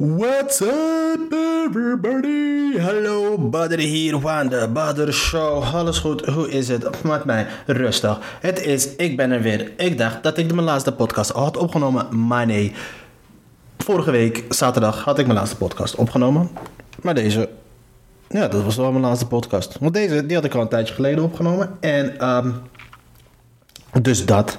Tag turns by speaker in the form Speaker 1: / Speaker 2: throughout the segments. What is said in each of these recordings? Speaker 1: What's up everybody? Hallo Bader hier van de Bader Show. Alles goed? Hoe is het? Met mij rustig. Het is, ik ben er weer. Ik dacht dat ik mijn laatste podcast al had opgenomen, maar nee. Vorige week, zaterdag, had ik mijn laatste podcast opgenomen. Maar deze, ja, dat was wel mijn laatste podcast. Want deze, die had ik al een tijdje geleden opgenomen. En, ehm, dus dat.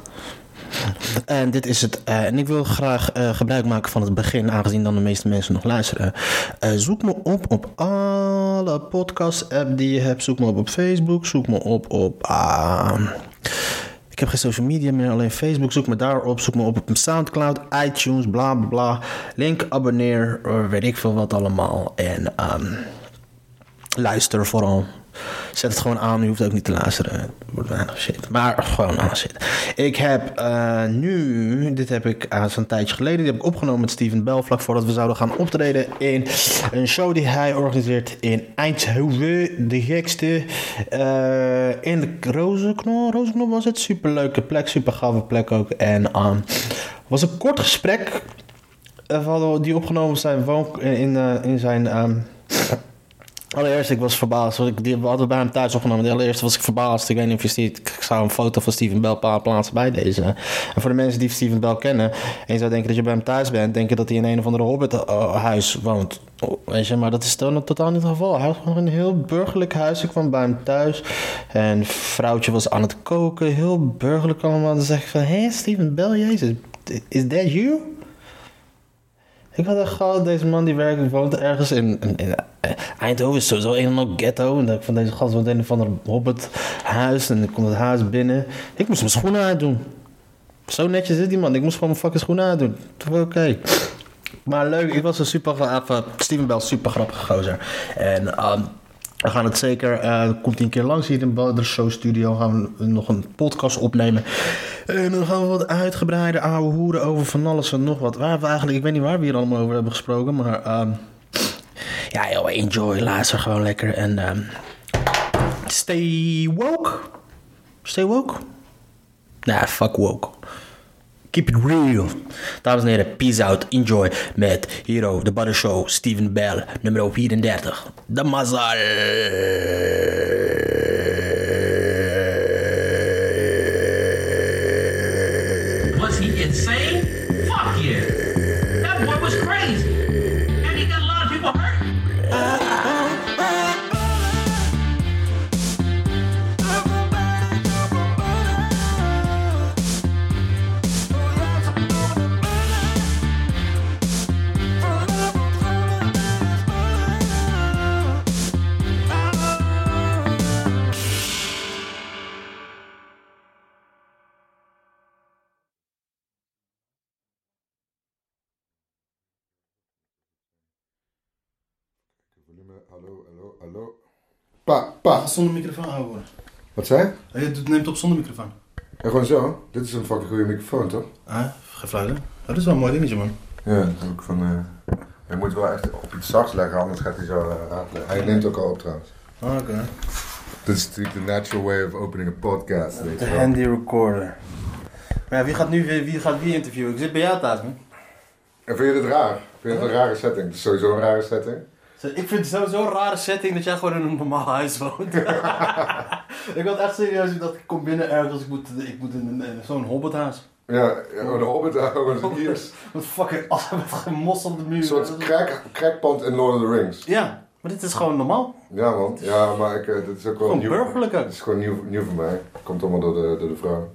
Speaker 1: En dit is het. eh, en ik wil graag eh, gebruik maken van het begin, aangezien dan de meeste mensen nog luisteren. Eh, zoek me op op alle podcast-app die je hebt. Zoek me op op Facebook. Zoek me op op. ah, ik heb geen social media meer, alleen Facebook. Zoek me daarop. Zoek me op op Soundcloud, iTunes, bla bla bla. Link, abonneer, eh, weet ik veel wat allemaal. En ehm, luister vooral. Zet het gewoon aan, je hoeft ook niet te luisteren. Het wordt weinig shit. Maar gewoon aan shit. Ik heb eh, nu, dit heb ik aan zo'n tijdje geleden, die heb ik opgenomen met Steven Bell vlak voordat we zouden gaan optreden in een show die hij organiseert in Eindhoven. De gekste eh, in de Rozenknol. Rozenknol was het. Superleuke plek, super gave plek ook. En het was een kort gesprek. eh, we hadden die opgenomen op zijn woon, in, eh, in zijn. ehm, Allereerst, ik was verbaasd. want ik, die, we hadden bij hem thuis opgenomen. De allereerste was ik verbaasd. Ik weet niet of je ziet. Ik zou een foto van Steven Bell pla- plaatsen bij deze. En voor de mensen die Steven Bell kennen. en je zou denken dat je bij hem thuis bent. denken dat hij in een of andere hobbithuis woont. Oh, Weet je, maar dat is dan totaal niet het geval. Hij had gewoon een heel burgerlijk huis. Ik kwam bij hem thuis. En vrouwtje was aan het koken. Heel burgerlijk allemaal. Dan zeg ik van: Hé, Steven Bell, Jezus. Is that you? Ik had echt gehad, deze man die werkt, woont ergens in, in, in eh, Eindhoven, is sowieso een en al ghetto. En ik van deze gast woont in een of ander hobbithuis en ik kom het huis binnen. Ik moest mijn schoenen uitdoen. Zo netjes is die man, ik moest gewoon mijn fucking schoenen uitdoen. Toen van, Oké. Maar leuk, ik was een super, eh, even, Steven Bell, super grappige gozer. En ehm, we gaan het zeker, eh, komt een keer langs hier in de Show Studio. Gaan we nog een podcast opnemen. En dan gaan we wat uitgebreider ouwe hoeren over van alles en nog wat. Waar we eigenlijk, ik weet niet waar we hier allemaal over hebben gesproken, maar... ehm, ja, joh, enjoy, luister gewoon lekker en... ehm, stay woke. Stay woke? Nah, fuck woke. Keep it real. Dames en heren, peace out. Enjoy met Hero, The Butter Show, Steven Bell, nummer 34. De mazal.
Speaker 2: Was he insane? Fuck yeah. That boy was crazy. And he got a lot of people hurt.
Speaker 3: Volume, hallo, hallo, hallo. Pa, pa.
Speaker 1: Zonder microfoon houden.
Speaker 3: Wat zei je?
Speaker 1: Je neemt op zonder microfoon.
Speaker 3: En gewoon zo. Dit is een fucking goede microfoon, toch?
Speaker 1: Ah, gefluiten. Dat is wel een mooi dingetje, man.
Speaker 3: Ja, dat is ook van... eh, Je moet wel echt op iets zachts leggen, anders gaat hij zo eh, ratelen. Hij neemt ook al op, trouwens.
Speaker 1: Ah, Oké.
Speaker 3: Dit is natuurlijk de natural way of opening een podcast, weet
Speaker 1: De
Speaker 3: je wel.
Speaker 1: handy recorder. Maar ja, wie gaat nu wie, wie gaat wie interviewen? Ik zit bij jou thuis, man.
Speaker 3: En vind je dit raar? Vind je het een rare setting? Het is sowieso een rare setting.
Speaker 1: Zo, Ik vind het sowieso een rare setting dat jij gewoon in een normaal huis woont. ik had echt serieus dat ik kom binnen ergens, ik moet, ik moet in, een- in zo'n hobbithuis.
Speaker 3: Ja, ja, oh, de hobbit houden zijn ears.
Speaker 1: Met fucking as met gemos op de muur.
Speaker 3: Een soort crack, crackpand in Lord of the Rings.
Speaker 1: Ja, maar dit is gewoon normaal.
Speaker 3: Ja man, ja, maar ik, eh, dit is ook wel
Speaker 1: Gewoon
Speaker 3: nieuw.
Speaker 1: burgerlijk ook.
Speaker 3: Het is gewoon nieuw, nieuw voor mij. Komt allemaal door de, door de vrouw.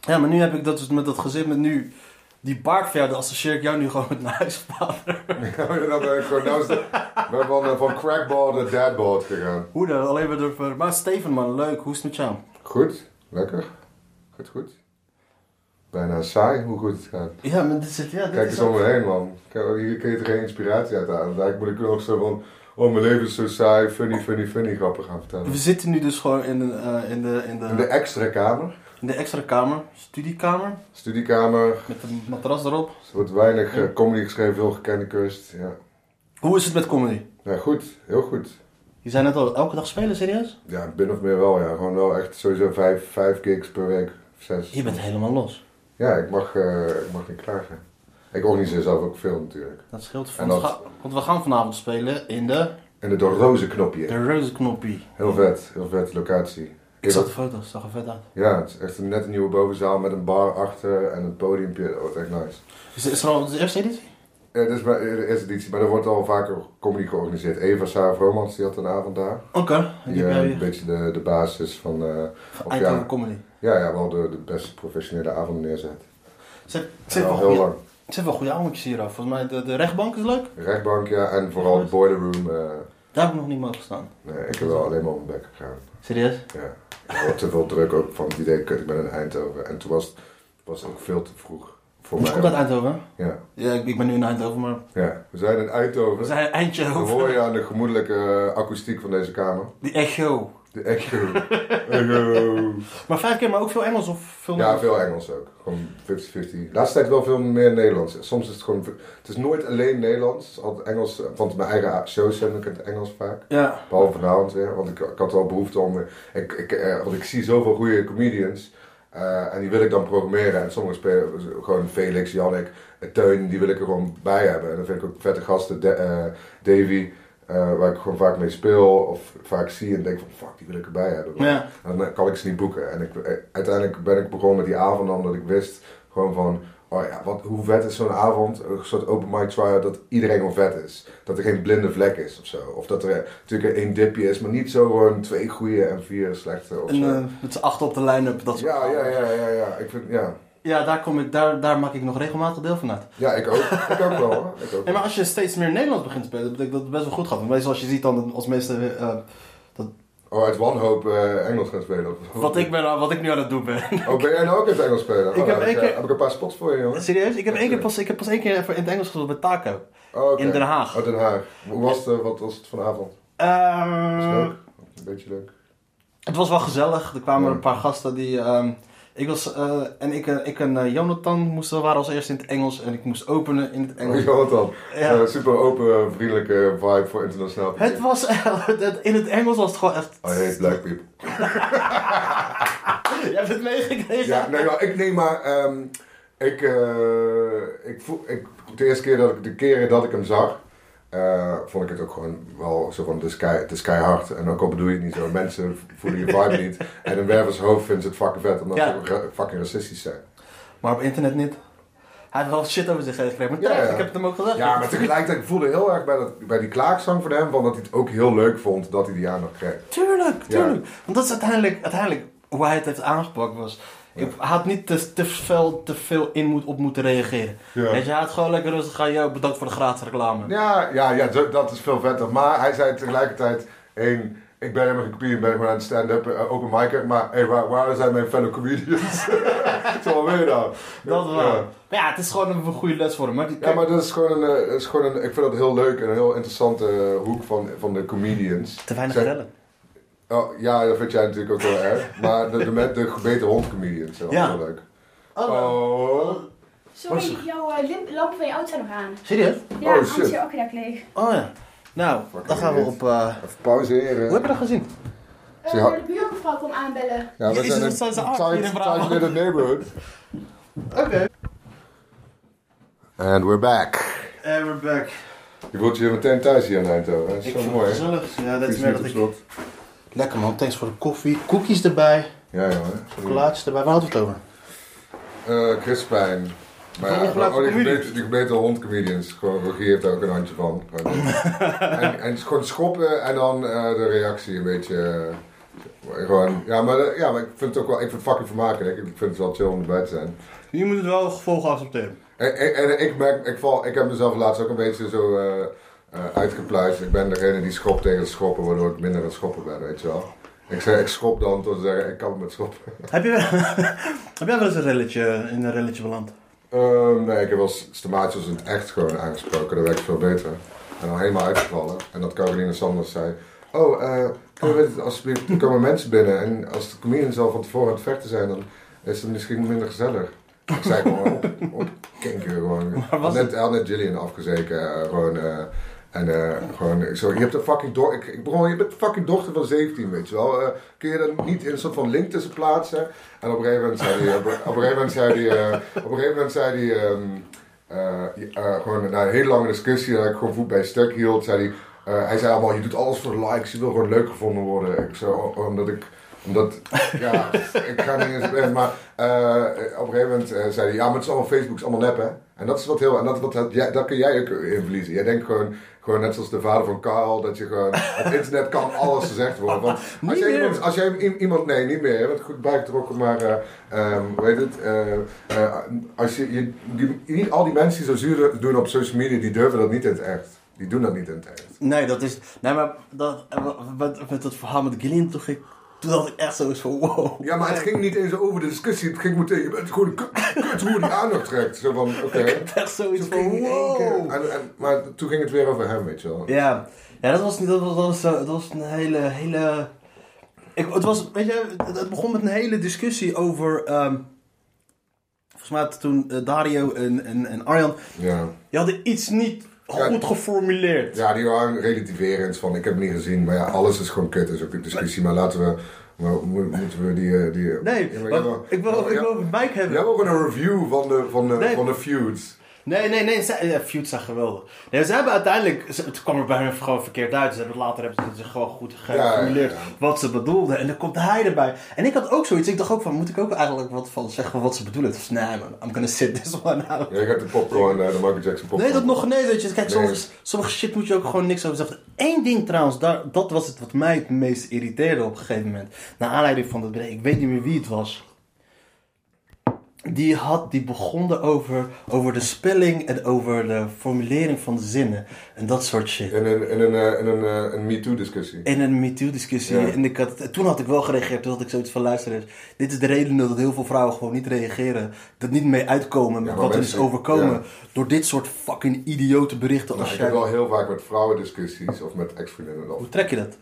Speaker 1: Ja, maar nu heb ik dat dus met dat gezicht met nu. Die baardverder associeer ik jou nu gewoon met een huisvader.
Speaker 3: Ja, maar dat ben ik gewoon, nou is de- we hebben van, van crackball naar dadball gegaan.
Speaker 1: Hoe dan? Alleen maar door... Maar Steven man, leuk. Hoe is het met jou?
Speaker 3: Goed, lekker. Goed, goed. Bijna saai hoe goed het gaat.
Speaker 1: Ja, maar dit zit... Ja, dit
Speaker 3: Kijk
Speaker 1: is
Speaker 3: eens
Speaker 1: ook-
Speaker 3: om me heen, man. Kijk, hier kun je toch geen inspiratie uit halen. Daar moet ik nog zo van, oh mijn leven is zo saai, funny, funny, funny grappen gaan vertellen.
Speaker 1: We zitten nu dus gewoon in de, eh, in de, in
Speaker 3: In de
Speaker 1: de,
Speaker 3: extra kamer,
Speaker 1: in de extra kamer. Studiekamer.
Speaker 3: studiekamer,
Speaker 1: Met een matras erop.
Speaker 3: er wordt weinig eh, comedy geschreven, veel gekende kust. Ja.
Speaker 1: Hoe is het met comedy?
Speaker 3: ja, goed, heel goed.
Speaker 1: Je zei net al, elke dag spelen, serieus?
Speaker 3: Ja, bin of meer wel, ja. Gewoon wel echt sowieso vijf, vijf gigs per week, zes.
Speaker 1: Je bent helemaal los.
Speaker 3: Ja, ik mag, eh, ik mag niet klagen. Ik organiseer zelf ook veel natuurlijk.
Speaker 4: Dat scheelt.
Speaker 3: En
Speaker 4: Want, we
Speaker 3: dat-
Speaker 4: ga- want we gaan vanavond spelen in de,
Speaker 3: En het door roze knopje.
Speaker 4: de Rozenknoppie.
Speaker 3: Heel vet, heel vet locatie.
Speaker 4: Ik
Speaker 3: Heel
Speaker 4: zag de
Speaker 3: wat-
Speaker 4: foto's, zag er vet uit.
Speaker 3: Ja, het is echt een net een nieuwe bovenzaal met een bar achter en een podiumpje. Dat wordt echt nice.
Speaker 4: Is, is er al de eerste editie?
Speaker 3: Ja, dit is bij de eerste editie, maar er wordt al vaker comedy georganiseerd. Eva Saar Romans die had een avond daar.
Speaker 4: Oké, die
Speaker 3: Die, eh,
Speaker 4: heb jij
Speaker 3: een beetje de, de basis van... eh, of
Speaker 4: Eindhoven
Speaker 3: ja,
Speaker 4: Comedy.
Speaker 3: ja, ja, wel de, de beste professionele avond neerzet.
Speaker 4: Zit, zit,
Speaker 3: Ja,
Speaker 4: wel
Speaker 3: al heel
Speaker 4: goeie,
Speaker 3: lang.
Speaker 4: zit wel goede avondjes hier af. Volgens mij de, de rechtbank is leuk.
Speaker 3: Rechtbank, ja, en vooral de boiler room. eh,
Speaker 4: Daar heb ik nog niet mogen staan.
Speaker 3: nee, ik heb wel alleen maar op mijn bek gegaan.
Speaker 4: Serieus?
Speaker 3: Ja, ik had te veel druk ook van het idee, kut, ik ben in Eindhoven. En toen was het was het ook veel te vroeg voor
Speaker 4: Je Dus komt uit
Speaker 3: mij.
Speaker 4: Eindhoven?
Speaker 3: Ja,
Speaker 4: Ja, ik, ik ben nu in Eindhoven, maar
Speaker 3: ja, we zijn in
Speaker 4: we
Speaker 3: Eindhoven.
Speaker 4: zijn eindje
Speaker 3: Dan hoor
Speaker 4: over.
Speaker 3: je aan de gemoedelijke eh, akoestiek van deze kamer.
Speaker 4: Die echo.
Speaker 3: De echo. echo.
Speaker 4: Maar vijf keer, maar ook veel Engels of veel
Speaker 3: Ja, veel Engels ook. Gewoon 50-50. De laatste tijd wel veel meer Nederlands. Soms is het gewoon... Het is nooit alleen Nederlands. Het is altijd Engels. Want mijn eigen shows heb ik in het Engels vaak.
Speaker 4: Ja.
Speaker 3: Behalve vanavond weer, want ik, ik had wel behoefte om. Ik, ik, eh, want ik zie zoveel goede comedians. eh, en die wil ik dan programmeren. En sommige spelen gewoon Felix, Jannik, eh, Teun, die wil ik er gewoon bij hebben. En dan vind ik ook vette gasten, De- eh, Davy, eh, waar ik gewoon vaak mee speel of vaak zie en denk van fuck, die wil ik erbij hebben.
Speaker 4: Ja.
Speaker 3: En dan kan ik ze niet boeken. En ik, eh, uiteindelijk ben ik begonnen met die avond omdat ik wist gewoon van, oh ja, wat, hoe vet is zo'n avond, een soort open mic tryout, dat iedereen wel vet is. Dat er geen blinde vlek is of zo. Of dat er eh, natuurlijk één dipje is, maar niet zo gewoon twee goede en vier slechte of
Speaker 4: En
Speaker 3: zo.
Speaker 4: eh, met z'n acht op de line-up. Dat soort
Speaker 3: ja, ja,
Speaker 4: dingen.
Speaker 3: ja, ja, ja. Ik vind, ja.
Speaker 4: Ja, daar, kom ik, daar, daar maak ik nog regelmatig deel van uit.
Speaker 3: Ja, ik ook. Ik ook wel, hoor. Ik ook
Speaker 4: Nee,
Speaker 3: wel.
Speaker 4: maar als je steeds meer Nederlands begint te spelen, betekent dat het best wel goed gaat. Want meestal als je ziet dan als meeste... eh, dat,
Speaker 3: Oh, uit wanhoop eh, Engels gaan spelen. of-
Speaker 4: wat, ik ben, aan- wat ik nu aan het doen ben.
Speaker 3: Oh, ben jij nou ook in het Engels spelen?
Speaker 4: Ik
Speaker 3: Oh,
Speaker 4: heb
Speaker 3: nou,
Speaker 4: één
Speaker 3: eh,
Speaker 4: keer-
Speaker 3: heb ik een paar spots voor je, jongen.
Speaker 4: Serieus? Ik heb, één keer pas, ik heb pas één keer even in het Engels gespeeld met Taco.
Speaker 3: Oh, oké.
Speaker 4: In Den Haag.
Speaker 3: Oh, Den Haag. Hoe was het, eh, wat was het vanavond? Was het
Speaker 4: Ehm,
Speaker 3: leuk? Een beetje leuk.
Speaker 4: Het was wel gezellig. Er kwamen
Speaker 3: Ja.
Speaker 4: een paar gasten die. ehm, ik was, eh, en ik, en- ik en eh, Jonathan moesten, waren als eerste in het Engels en ik moest openen in het Engels.
Speaker 3: Oh, Jonathan.
Speaker 4: Ja.
Speaker 3: Eh, super open, vriendelijke vibe voor internationaal. publiek.
Speaker 4: Het was echt- het- in het Engels was het gewoon echt.
Speaker 3: I hate Oh, black people.
Speaker 4: Jij hebt het meegekregen.
Speaker 3: Ja, nee, maar ik neem maar. ehm, ik, eh, ik voel, ik, de eerste keer dat ik, de keren dat ik hem zag, eh, vond ik het ook gewoon wel zo van de sky, de sky hard. En ook al bedoel je het niet zo, mensen voelen je vibe niet. En in Wervers hoofd vinden ze het fucking vet, omdat
Speaker 4: Ja.
Speaker 3: ze ook ra- fucking racistisch zijn.
Speaker 4: Maar op internet niet. Hij heeft wel shit over zich heen gekregen. Maar
Speaker 3: Ja,
Speaker 4: terecht,
Speaker 3: ja.
Speaker 4: ik heb het hem ook gezegd.
Speaker 3: Ja, maar tegelijkertijd ik voelde heel erg bij, dat, bij die klaagzang van hem, van dat hij het ook heel leuk vond dat hij die aandacht kreeg.
Speaker 4: Tuurlijk, tuurlijk. Want dat is uiteindelijk, uiteindelijk hoe hij het heeft aangepakt was. Ik had niet te, te veel, te veel in moet, op moeten reageren.
Speaker 3: Ja.
Speaker 4: Weet je, hij had gewoon lekker rustig gaan. Yo, bedankt voor de gratis reclame.
Speaker 3: Ja, ja, ja zo- dat is veel vetter. Maar hij zei tegelijkertijd: één, ik ben helemaal geen comedian, ben gewoon aan het stand-up, eh, open micer. Maar hey, waar, waar zijn mijn fellow comedians? Zo weer dan.
Speaker 4: Dat wel.
Speaker 3: nou? Ja.
Speaker 4: Ja. ja, het is gewoon een goede les voor hem. Maar die,
Speaker 3: Ja, maar dat is gewoon een, eh, dat is gewoon een. Ik vind dat heel leuk en een heel interessante eh, hoek van, van de comedians.
Speaker 4: Te weinig
Speaker 3: Zijn-
Speaker 4: rellen.
Speaker 3: Oh, ja, dat vind jij natuurlijk ook wel erg. Maar de, de, met de gebeten hond comedians zijn
Speaker 4: Ja.
Speaker 3: ja. heel leuk. Oh.
Speaker 4: Oh,
Speaker 5: Sorry, jouw eh, lim- lampen van je auto zijn nog aan.
Speaker 4: Serieus?
Speaker 5: Ja,
Speaker 3: Oh,
Speaker 5: anders
Speaker 3: shit.
Speaker 5: is je akkerdak leeg.
Speaker 4: Oh ja. Nou,
Speaker 3: Fucking
Speaker 4: dan gaan we
Speaker 3: idiot.
Speaker 4: op... eh,
Speaker 3: Even pauzeren.
Speaker 4: Hoe heb je dat gezien?
Speaker 5: Eh,
Speaker 3: Ze had-
Speaker 5: de buurmevrouw kwam aanbellen.
Speaker 3: Ja, we
Speaker 4: Jezus,
Speaker 3: zijn
Speaker 4: wat
Speaker 3: een
Speaker 4: zijn ze af hier in Brabant.
Speaker 3: in the neighborhood.
Speaker 4: Oké.
Speaker 3: And we're back.
Speaker 4: En Eh, we're back.
Speaker 3: Je voelt je meteen thuis hier in Eindhoven. hè? Dat is
Speaker 4: Ik
Speaker 3: zo
Speaker 4: vond
Speaker 3: mooi. hè?
Speaker 4: het gezellig. Ja, dat is
Speaker 3: Vies
Speaker 4: meer
Speaker 3: niet
Speaker 4: dat
Speaker 3: op
Speaker 4: ik...
Speaker 3: slot.
Speaker 4: Lekker man, thanks voor de koffie. Koekjes erbij.
Speaker 3: Ja, jongen.
Speaker 4: Plaatjes erbij. Waar hadden we het over?
Speaker 3: Eh Crispijn. Maar ja,
Speaker 4: Ongelukkige
Speaker 3: oh, die
Speaker 4: comedians.
Speaker 3: gebeten, die gebeten hondcomedians. Gewoon, Rogier heeft daar ook een handje van. Gewoon. en, en gewoon schoppen en dan eh, de reactie een beetje... eh, gewoon, ja, maar, eh, ja, maar ik vind het ook wel... Ik vind het fucking vermakelijk. Ik vind het wel chill om erbij te zijn.
Speaker 4: Je moet het wel gevolgen accepteren.
Speaker 3: En, en, en ik, merk, ik, val, ik heb mezelf laatst ook een beetje zo eh eh, uitgepluist. Ik ben degene die schopt tegen het schoppen, waardoor ik minder aan het schoppen ben, weet je wel. Ik, zeg, ik schop dan tot ze zeggen, ik kan het met schoppen.
Speaker 4: Heb je, heb jij wel eens een relletje, in een relletje beland?
Speaker 3: Ehm, nee, ik heb wel stematisch in het echt gewoon aangesproken, dat werkt veel beter. En dan helemaal uitgevallen. En dat Caroline Sanders zei, oh, eh kunnen we dit alsjeblieft, er komen mensen binnen. En als de comedians al van tevoren aan het vechten zijn, dan is het misschien minder gezellig. Ik zei gewoon op, op kinker gewoon.
Speaker 4: Maar was
Speaker 3: Net, hij had net Jillian afgezeken, eh, gewoon... eh, en eh, gewoon, ik zo, je hebt een fucking dochter, ik, ik begon, je bent een fucking dochter van 17, weet je wel. Eh, kun je dat niet in een soort van link tussen plaatsen? En op een gegeven moment zei hij, eh, op een gegeven moment zei hij, eh, op een gegeven moment zei hij, ehm, eh, eh, gewoon na een hele lange discussie, dat ik gewoon voet bij stuk hield, zei hij, eh, hij zei allemaal, je doet alles voor de likes, je wil gewoon leuk gevonden worden. Ik zo, omdat ik, omdat, ja, ik ga niet eens blijven, maar eh, op een gegeven moment eh, zei hij, ja, maar het is allemaal Facebook, het is allemaal nep, hè. En dat is wat heel, en dat, wat, dat, ja, daar kun jij ook in verliezen. Jij denkt gewoon, gewoon net zoals de vader van Karl, dat je gewoon, op internet kan alles gezegd worden. Want als
Speaker 1: Niet
Speaker 3: jij
Speaker 1: meer.
Speaker 3: iemand als jij i- iemand, nee, niet meer, want goed bijgetrokken, maar eh, ehm, hoe heet het? eh, eh, als je, je die, niet al die mensen die zo zuur doen op social media, die durven dat niet in het echt. Die doen dat niet in het echt.
Speaker 4: Nee, dat is. Nee, maar dat, met, met dat verhaal met Gillian, toen, ging, toen had ik echt zo eens van: wow.
Speaker 3: Ja, maar het ging niet eens over de discussie. Het ging meteen, je bent gewoon een kut, kut hoe die aandacht trekt. Zo van, oké.
Speaker 4: Echt zoiets
Speaker 3: Toen ging
Speaker 4: van:
Speaker 3: hij één keer-
Speaker 4: wow.
Speaker 3: en- en- Maar toen ging het weer over hem, weet je wel.
Speaker 4: Ja, ja dat was niet. Dat was, dat was, eh, dat was een hele. hele ik, het, was, weet je, het het begon met een hele discussie over. ehm, volgens mij had toen eh, Dario en, en, en Arjan.
Speaker 3: Ja.
Speaker 4: Die hadden iets niet
Speaker 3: Ja.
Speaker 4: goed geformuleerd.
Speaker 3: Ja, die waren relativerend van ik heb het niet gezien, maar ja, alles is gewoon kut, is ook de discussie. Maar laten we, maar mo- moeten we die... eh, die
Speaker 4: Nee,
Speaker 3: Ja, maar
Speaker 4: maar
Speaker 3: jij wil-
Speaker 4: ik wil, ik
Speaker 3: jij-
Speaker 4: wil Mike hebben.
Speaker 3: Jij wil gewoon een review van de, van de,
Speaker 4: Nee.
Speaker 3: van de feuds.
Speaker 4: Nee, nee, nee. Zij, ja, Feud zag geweldig. Nee, ze hebben uiteindelijk... Ze, het kwam er bij hen gewoon verkeerd uit. Ze hebben, later hebben ze het gewoon goed geformuleerd
Speaker 3: Ja, ja, ja.
Speaker 4: wat ze bedoelden. En dan komt hij erbij. En ik had ook zoiets. Ik dacht ook van, moet ik ook eigenlijk wat van zeggen wat ze bedoelen? Dus nee man, I'm gonna sit this one out.
Speaker 3: Ja, ik heb de popcorn, eh, de Michael Jackson popcorn.
Speaker 4: Nee, dat nog nee, weet je. Kijk,
Speaker 3: Nee.
Speaker 4: sommige, sommige shit moet je ook gewoon niks over zeggen. Eén ding trouwens, daar, dat was het wat mij het meest irriteerde op een gegeven moment. Naar aanleiding van dat bericht, ik weet niet meer wie het was. Die had, die begon erover, over de spelling en over de formulering van zinnen. En dat soort shit.
Speaker 3: In een, in een, eh, in een, eh, een MeToo-discussie.
Speaker 4: In een MeToo-discussie.
Speaker 3: Ja.
Speaker 4: En ik had, toen had ik wel gereageerd. Toen had ik zoiets van, luister eens. Dit is de reden dat heel veel vrouwen gewoon niet reageren. Dat niet mee uitkomen met
Speaker 3: maar
Speaker 4: wat er is
Speaker 3: mensen-
Speaker 4: overkomen.
Speaker 3: ja.
Speaker 4: Door dit soort fucking idiote berichten.
Speaker 3: Nou,
Speaker 4: als
Speaker 3: ik
Speaker 4: jij...
Speaker 3: heb wel heel vaak met vrouwen discussies of met ex-vriendinnen of
Speaker 4: Hoe trek je dat?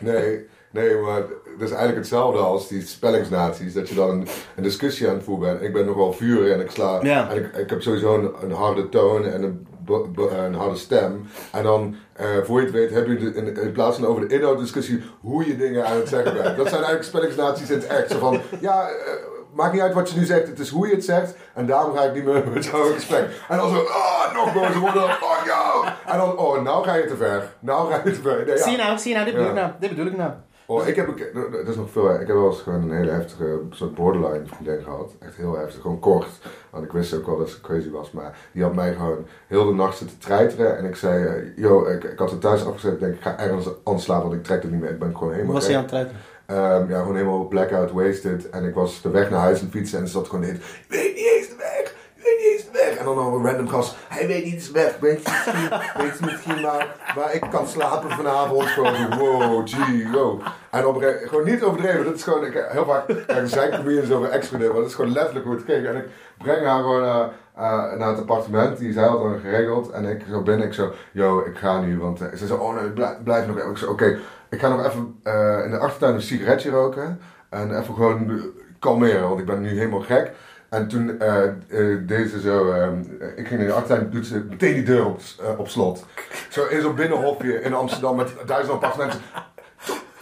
Speaker 3: Nee, nee, maar dat is eigenlijk hetzelfde als die spellingsnaties. Dat je dan een, een discussie aan het voeren bent. Ik ben nogal vurig en ik sla.
Speaker 4: Ja.
Speaker 3: En ik, ik heb sowieso een, een harde toon en een, bo- bo- een harde stem. En dan, eh, voor je het weet, heb je de- in, in plaats van over de inhoud discussie hoe je dingen aan het zeggen bent. Dat zijn eigenlijk spellingsnaties in het echt. Zo van, ja. eh, Maakt niet uit wat je nu zegt, het is hoe je het zegt. En daarom ga ik niet meer met jou in gesprek. En dan zo, ah, nog boos worden, fuck jou. En dan, oh, nou ga je te ver. Nou ga je te ver. Nee, ja.
Speaker 4: Zie je nou, zie je nou, dit bedoel
Speaker 3: Ja.
Speaker 4: ik nou. Dit bedoel ik nou.
Speaker 3: Oh, ik heb, ik, dat is nog veel, hè. ik heb wel eens gewoon een hele heftige soort borderline vriendin gehad. Echt heel heftig, gewoon kort. Want ik wist ook wel dat ze crazy was, maar die had mij gewoon heel de nacht zitten treiteren. En ik zei, eh, yo, ik, ik had het thuis afgezet. Ik denk, ik ga ergens anders slapen, want ik trek het niet meer. Ik ben gewoon helemaal
Speaker 4: Hoe was
Speaker 3: gek.
Speaker 4: hij aan het treiteren?
Speaker 3: Ehm, ja, gewoon helemaal blackout wasted. En ik was de weg naar huis en fietsen en ze zat gewoon in. Ik weet niet eens de weg! Ik weet niet eens de weg! En dan nog een random gast. Hij weet niet eens de weg. Weet je misschien, weet je misschien waar, waar ik kan slapen vanavond? Gewoon zo, wow, gee, wow. En op een gegeven moment, gewoon niet overdreven. Dat is gewoon, ik, eh, heel vaak kijk, zijn comedians over ex-vriendinnen. Maar dat is gewoon letterlijk hoe het keek. En ik breng haar gewoon... eh, eh, naar het appartement, die zij had dan geregeld. En ik zo binnen, ik zo, yo, ik ga nu. Want eh, ze zei, oh nee, blijf, blijf nog even. Ik zo, oké, ik ga nog even eh, in de achtertuin een sigaretje roken. En even gewoon eh, kalmeren, want ik ben nu helemaal gek. En toen eh eh, deed ze zo, eh, ik ging in de achtertuin, doet ze meteen die deur op, eh, op slot. Zo in zo'n binnenhopje in Amsterdam met duizend appartementen.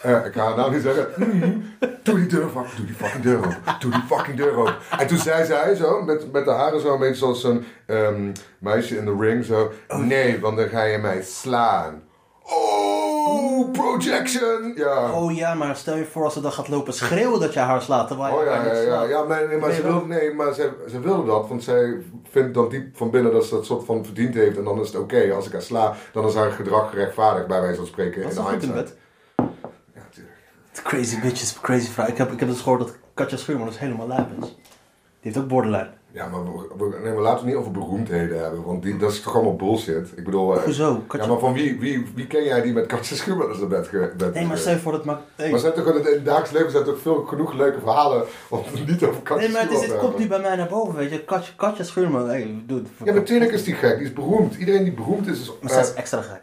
Speaker 3: Eh, ik ga haar nou niet zeggen. Hmm, doe die deur van, doe die fucking deur open. Doe die fucking deur open. En toen zei zij zo, met, met de haren zo een beetje zoals zo'n ehm, meisje in de ring zo. Nee, want dan ga je mij slaan. Oh, projection! Ja.
Speaker 4: Oh ja, maar stel je voor als ze dan gaat lopen schreeuwen dat je haar slaat. Terwijl je
Speaker 3: Oh ja,
Speaker 4: haar
Speaker 3: ja,
Speaker 4: niet
Speaker 3: ja.
Speaker 4: slaat.
Speaker 3: ja maar, nee, maar, ze, wil, nee, maar ze, ze wilde dat, want zij vindt dan diep van binnen dat ze dat soort van verdiend heeft. En dan is het oké, als ik haar sla, dan is haar gedrag gerechtvaardigd, bij wijze van spreken.
Speaker 4: Was
Speaker 3: in
Speaker 4: ze goed in
Speaker 3: hindsight.
Speaker 4: bed?
Speaker 3: Ja, natuurlijk.
Speaker 4: Crazy bitches, crazy vrouw. Ik heb, ik heb dus gehoord dat Katja Schuurman dus helemaal lijp is. Die heeft ook borderline.
Speaker 3: Ja, maar, we, we- nee, maar laten we het niet over beroemdheden hebben, want die, dat is toch allemaal bullshit. Ik bedoel, eh,
Speaker 4: Hoezo? Katja-
Speaker 3: Ja, maar van wie, wie, wie ken jij die met Katja Schuurman naar bed ge- bed
Speaker 4: Nee, maar
Speaker 3: is
Speaker 4: stel je voor dat maakt... Hey.
Speaker 3: Maar zijn toch, in het dagelijks leven zijn toch veel genoeg leuke verhalen om het niet over Katja
Speaker 4: Nee, maar het, is, het
Speaker 3: Schuurman te
Speaker 4: komt nu
Speaker 3: hebben?
Speaker 4: bij mij naar boven, weet je. Katja, Katja Schuurman, hey, dude.
Speaker 3: Ja, maar natuurlijk is die gek, die is beroemd. Iedereen die beroemd is, is...
Speaker 4: Maar
Speaker 3: eh,
Speaker 4: zij is extra gek.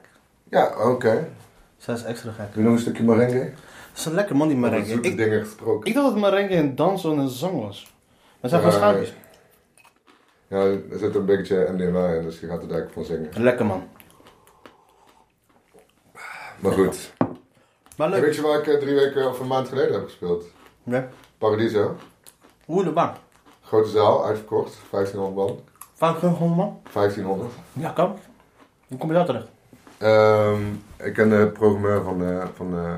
Speaker 3: ja, oké.
Speaker 4: Zij is extra gek.
Speaker 3: Kun je nog een stukje merengue?
Speaker 4: Het is een lekker man, die
Speaker 3: Over
Speaker 4: merengue.
Speaker 3: zoete
Speaker 4: Ik,
Speaker 3: dingen gesproken.
Speaker 4: ik dacht dat merengue een dans en een zang was. Maar zij
Speaker 3: Ja,
Speaker 4: zijn gewoon schaapjes.
Speaker 3: Ja, er zit een beetje MDMA in, dus je gaat er daar ook van zingen.
Speaker 4: Lekker man.
Speaker 3: Maar goed.
Speaker 4: Maar
Speaker 3: En
Speaker 4: leuk.
Speaker 3: weet je waar ik eh, drie weken of een maand geleden heb gespeeld?
Speaker 4: Ja.
Speaker 3: Paradiso.
Speaker 4: Hoe de bang.
Speaker 3: Grote zaal, uitverkocht. 1500 man.
Speaker 4: Vaak gewoon man?
Speaker 3: 1500.
Speaker 4: Ja, kan. Hoe kom je daar terecht?
Speaker 3: Ehm, ik ken de programmeur van, eh, van, eh,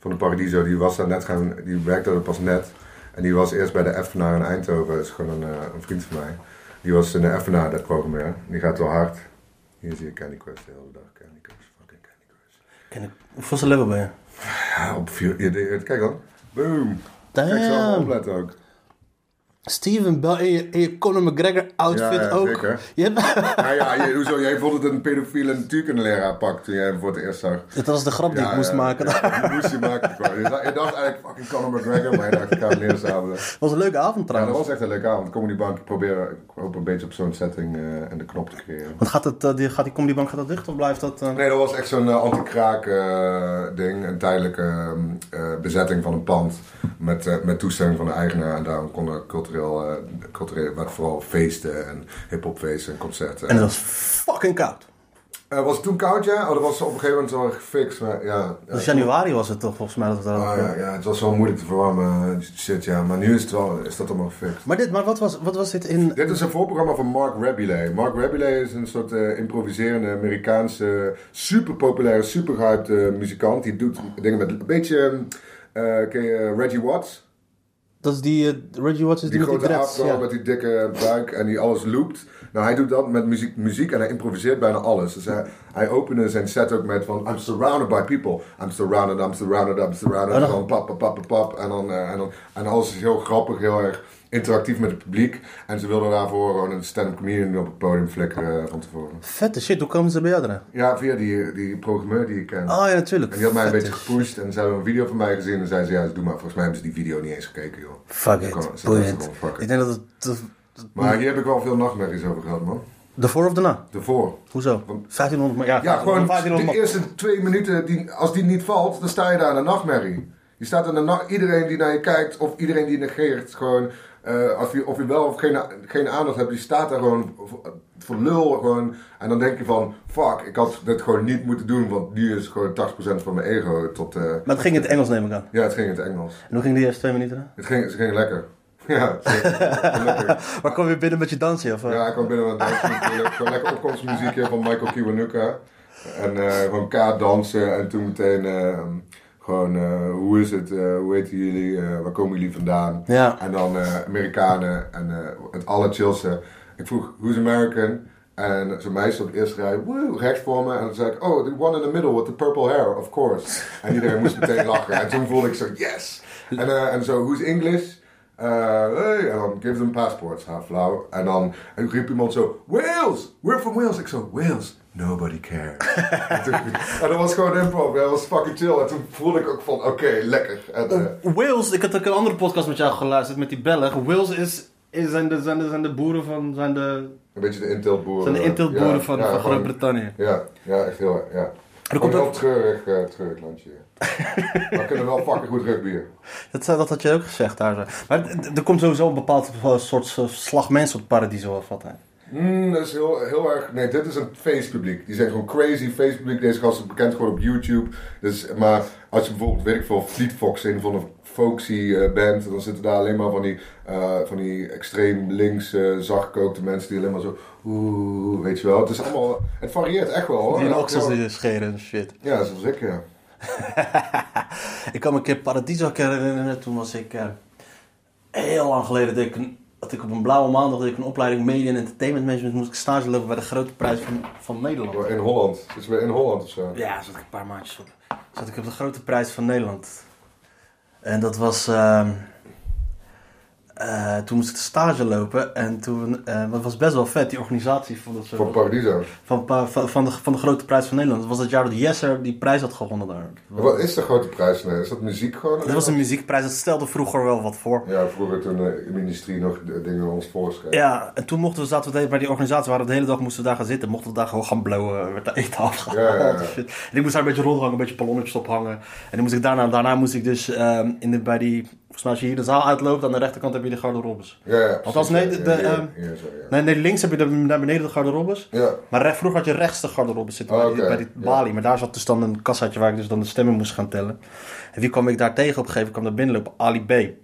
Speaker 3: van de Paradiso, die was daar net gaan, die werkte er pas net. En die was eerst bij de Effenaar in Eindhoven, dat is gewoon een, eh, een vriend van mij. Die was in de Effenaar, dat programmeur. Die gaat wel hard. Hier zie je Candy Crush de hele dag, Candy Crush, fucking Candy Crush.
Speaker 4: Ken ik. Hoeveel level ben je?
Speaker 3: Ja, op vier, je- je- kijk dan. Boom. Kijk zo
Speaker 4: Damn.
Speaker 3: opletten ook.
Speaker 4: Steven Bell in je, in je Conor McGregor outfit
Speaker 3: Ja, ja,
Speaker 4: ook.
Speaker 3: zeker.
Speaker 4: Je hebt-
Speaker 3: Nou ja, je, hoezo, jij vond het een pedofiele natuurkundeleraar pak toen jij hem voor het eerst zag.
Speaker 4: Dit was de grap die ik moest maken. Het
Speaker 3: Ja, die moest je maken. gewoon. Je dacht je dacht eigenlijk fucking Conor McGregor, maar je dacht ik ga het leren sabelen.
Speaker 4: was een leuke avond
Speaker 3: Ja, dat
Speaker 4: trouwens.
Speaker 3: was echt een leuke avond. Comedy Bank, ik probeer ik hoop een beetje op zo'n setting eh, en de knop te creëren.
Speaker 4: Want gaat, het, eh, die, gaat die comedybank gaat dat dicht of blijft dat... eh?
Speaker 3: Nee, dat was echt zo'n eh, anti-kraak eh, ding. Een tijdelijke eh, eh, bezetting van een pand met, eh, met toestemming van de eigenaar. En daarom konden cultureel, eh cultureel werd vooral feesten en hip-hopfeesten en concerten.
Speaker 4: En het was fucking koud.
Speaker 3: Eh, was het toen koud, ja? Oh, dat was op een gegeven moment wel gefixt, maar ja. ja.
Speaker 4: Dat is Dus januari was het toch volgens mij dat we daar
Speaker 3: Ah, ja, ja, het was wel moeilijk te verwarmen, eh, shit, ja. Maar nu is, het wel, is dat allemaal gefixt.
Speaker 4: Maar, dit, maar wat, was, wat was dit in...
Speaker 3: Dit is een voorprogramma van Mark Rabelais. Mark Rabelais is een soort eh, improviserende Amerikaanse, super populaire, super gehyped eh, muzikant. Die doet dingen met een beetje. eh, ken je Reggie Watts?
Speaker 4: Dat is die... eh, Reggie Watts is die,
Speaker 3: Die
Speaker 4: met die
Speaker 3: grote
Speaker 4: dreads.
Speaker 3: afro
Speaker 4: Ja.
Speaker 3: met die dikke buik en die alles loopt. Nou, hij doet dat met muziek, muziek en hij improviseert bijna alles. Dus hij, hij opende zijn set ook met van I'm surrounded by people. I'm surrounded, I'm surrounded, I'm
Speaker 4: Ah,
Speaker 3: surrounded. En dan pap, pap, pap, pap, pap. En, dan, eh, en, dan, en alles is heel grappig, heel erg interactief met het publiek. En ze wilden daarvoor gewoon een stand-up comedian op het podium flikkeren eh, van tevoren.
Speaker 4: Vette shit, hoe komen ze bij jou erin?
Speaker 3: Ja, via die, eh, die programmeur die ik ken.
Speaker 4: Ah ja, natuurlijk.
Speaker 3: En die had mij een
Speaker 4: Vette
Speaker 3: beetje gepusht en ze hebben een video van mij gezien en zeiden ze ja, doe maar. Volgens mij hebben ze die video niet eens gekeken, joh.
Speaker 4: Fuck
Speaker 3: Ze kon-
Speaker 4: it,
Speaker 3: ze dachten
Speaker 4: boeiend.
Speaker 3: gewoon, fuck
Speaker 4: Ik
Speaker 3: it.
Speaker 4: denk dat het... de-
Speaker 3: Maar hier heb ik wel veel nachtmerries over gehad, man.
Speaker 4: De voor of de na?
Speaker 3: Daarvoor.
Speaker 4: Hoezo? 1500 maar Ja,
Speaker 3: Ja, gewoon de
Speaker 4: 1500 man.
Speaker 3: eerste twee minuten, die, als die niet valt, dan sta je daar in een nachtmerrie. Je staat in een nacht, iedereen die naar je kijkt of iedereen die negeert, gewoon, eh, of, je, of je wel of geen, geen aandacht hebt, die staat daar gewoon voor, voor lul. Gewoon, en dan denk je van, fuck, ik had dit gewoon niet moeten doen, want nu is gewoon 80% van mijn ego tot... eh,
Speaker 4: Maar het ging in het Engels neem ik aan.
Speaker 3: ja, het ging in het Engels.
Speaker 4: En hoe ging die eerste twee minuten? hè?
Speaker 3: Het ging, het ging lekker. Ja, het ging- het ging lekker.
Speaker 4: Maar kwam je binnen met je dansje? Of, eh?
Speaker 3: Ja, ik kwam binnen met dansen natuurlijk. Gewoon lekker opkomstmuziekje van Michael Kiwanuka. En eh, gewoon kaart dansen en toen meteen eh, gewoon eh, hoe is het, eh, hoe heten jullie, Eh, waar komen jullie vandaan?
Speaker 4: Ja.
Speaker 3: En dan eh, Amerikanen en eh, het allerchillste. Ik vroeg, who's American? En zo'n meisje op de eerste rij, woe, rechts voor me. En dan zei ik, oh, the one in the middle with the purple hair, of course. En iedereen moest meteen lachen. En toen voelde ik zo, yes. En, eh, en zo, who's English? Eh, hey, en dan, give them passports, ha, flauw. En dan en riep iemand zo, Wales, we're from Wales. Ik zo, Wales, nobody cares. en, toen- en dat was gewoon improv, dat was fucking chill. En toen voelde ik ook van, oké, lekker. En, eh,
Speaker 4: Wales, ik had ook een andere podcast met jou geluisterd met die Belg. Wales is, is, zijn, de, zijn, de, zijn de boeren van. zijn de,
Speaker 3: Een beetje de intiltboeren.
Speaker 4: zijn de intilboeren
Speaker 3: Ja,
Speaker 4: van,
Speaker 3: ja,
Speaker 4: van
Speaker 3: gewoon-
Speaker 4: Groot-Brittannië.
Speaker 3: Ja, ja, echt heel erg. Ja. Er
Speaker 4: Er komt
Speaker 3: komt een heel
Speaker 4: ook-
Speaker 3: treurig, eh, treurig landje. maar we kunnen wel fucking goed rugbyen.
Speaker 4: Dat, zei- dat had je ook gezegd daar. zo. Maar d- d- er komt sowieso een bepaald eh, soort eh, slag mensen op paradiso of wat. hè?
Speaker 3: Mm, dat is heel, heel erg. Nee, dit is een feestpubliek. Die zijn gewoon crazy feestpubliek. Deze gasten bekend gewoon op YouTube. Dus, maar als je bijvoorbeeld, weet ik veel, Fleet Fox in van een folksy eh, band, dan zitten daar alleen maar van die, eh, van die extreem links eh zachtgekookte mensen die alleen maar zo. Oeh, weet je wel. Het is allemaal. Het varieert echt wel hoor.
Speaker 4: Die in
Speaker 3: Oh, Ja,
Speaker 4: oksels
Speaker 3: ja.
Speaker 4: die scheren en shit.
Speaker 3: Ja, zoals ik, ja.
Speaker 4: Ik kan me een keer Paradiso ook herinneren. Toen was ik eh, heel lang geleden dat ik, een- dat ik op een blauwe maandag dat ik een opleiding media en entertainment management moest ik stage lopen bij de grote prijs van, van Nederland.
Speaker 3: In Holland. Het is weer in Holland of zo.
Speaker 4: Ja, zat ik een paar maandjes op. Zat ik op de grote prijs van Nederland. En dat was. ehm, eh, toen moest ik de stage lopen en toen. eh dat was best wel vet, die organisatie van, dat soort-
Speaker 3: Van Paradiso.
Speaker 4: van, pa- van, van, de, van de grote prijs van Nederland. Dat was het jaar dat Jesser die prijs had gewonnen daar.
Speaker 3: Wat is de grote prijs? Nee, is dat muziek gewoon?
Speaker 4: Dat was een muziekprijs, dat stelde vroeger wel wat voor.
Speaker 3: Ja, vroeger toen eh, de industrie nog de dingen ons voorschreef.
Speaker 4: Ja, en toen mochten we, zaten we de- bij die organisatie, waren we de hele dag moesten we daar gaan zitten. Mochten we daar gewoon gaan blowen, eh, werd daar eten afgehaald.
Speaker 3: Ja, ja, ja.
Speaker 4: en shit. En ik moest daar een beetje rondhangen, een beetje ballonnetjes ophangen. En dan moest ik daarna, daarna moest ik dus ehm, in de, bij die, volgens mij als je hier de zaal uitloopt, aan de rechterkant heb je de garderobbes.
Speaker 3: Ja, ja.
Speaker 4: Althans, nee,
Speaker 3: precies,
Speaker 4: de,
Speaker 3: ja,
Speaker 4: de,
Speaker 3: ja,
Speaker 4: ehm,
Speaker 3: ja, zo, ja.
Speaker 4: nee, nee, links heb je de, naar beneden de garderobbes.
Speaker 3: Ja.
Speaker 4: Maar recht, vroeger had je rechts de garderobe zitten,
Speaker 3: Oh,
Speaker 4: bij, die,
Speaker 3: oké.
Speaker 4: bij die
Speaker 3: Ja.
Speaker 4: balie. Maar daar zat dus dan een kassaatje waar ik dus dan de stemmen moest gaan tellen. En wie kwam ik daar tegen op een gegeven moment? kwam daar binnenlopen? Ali B.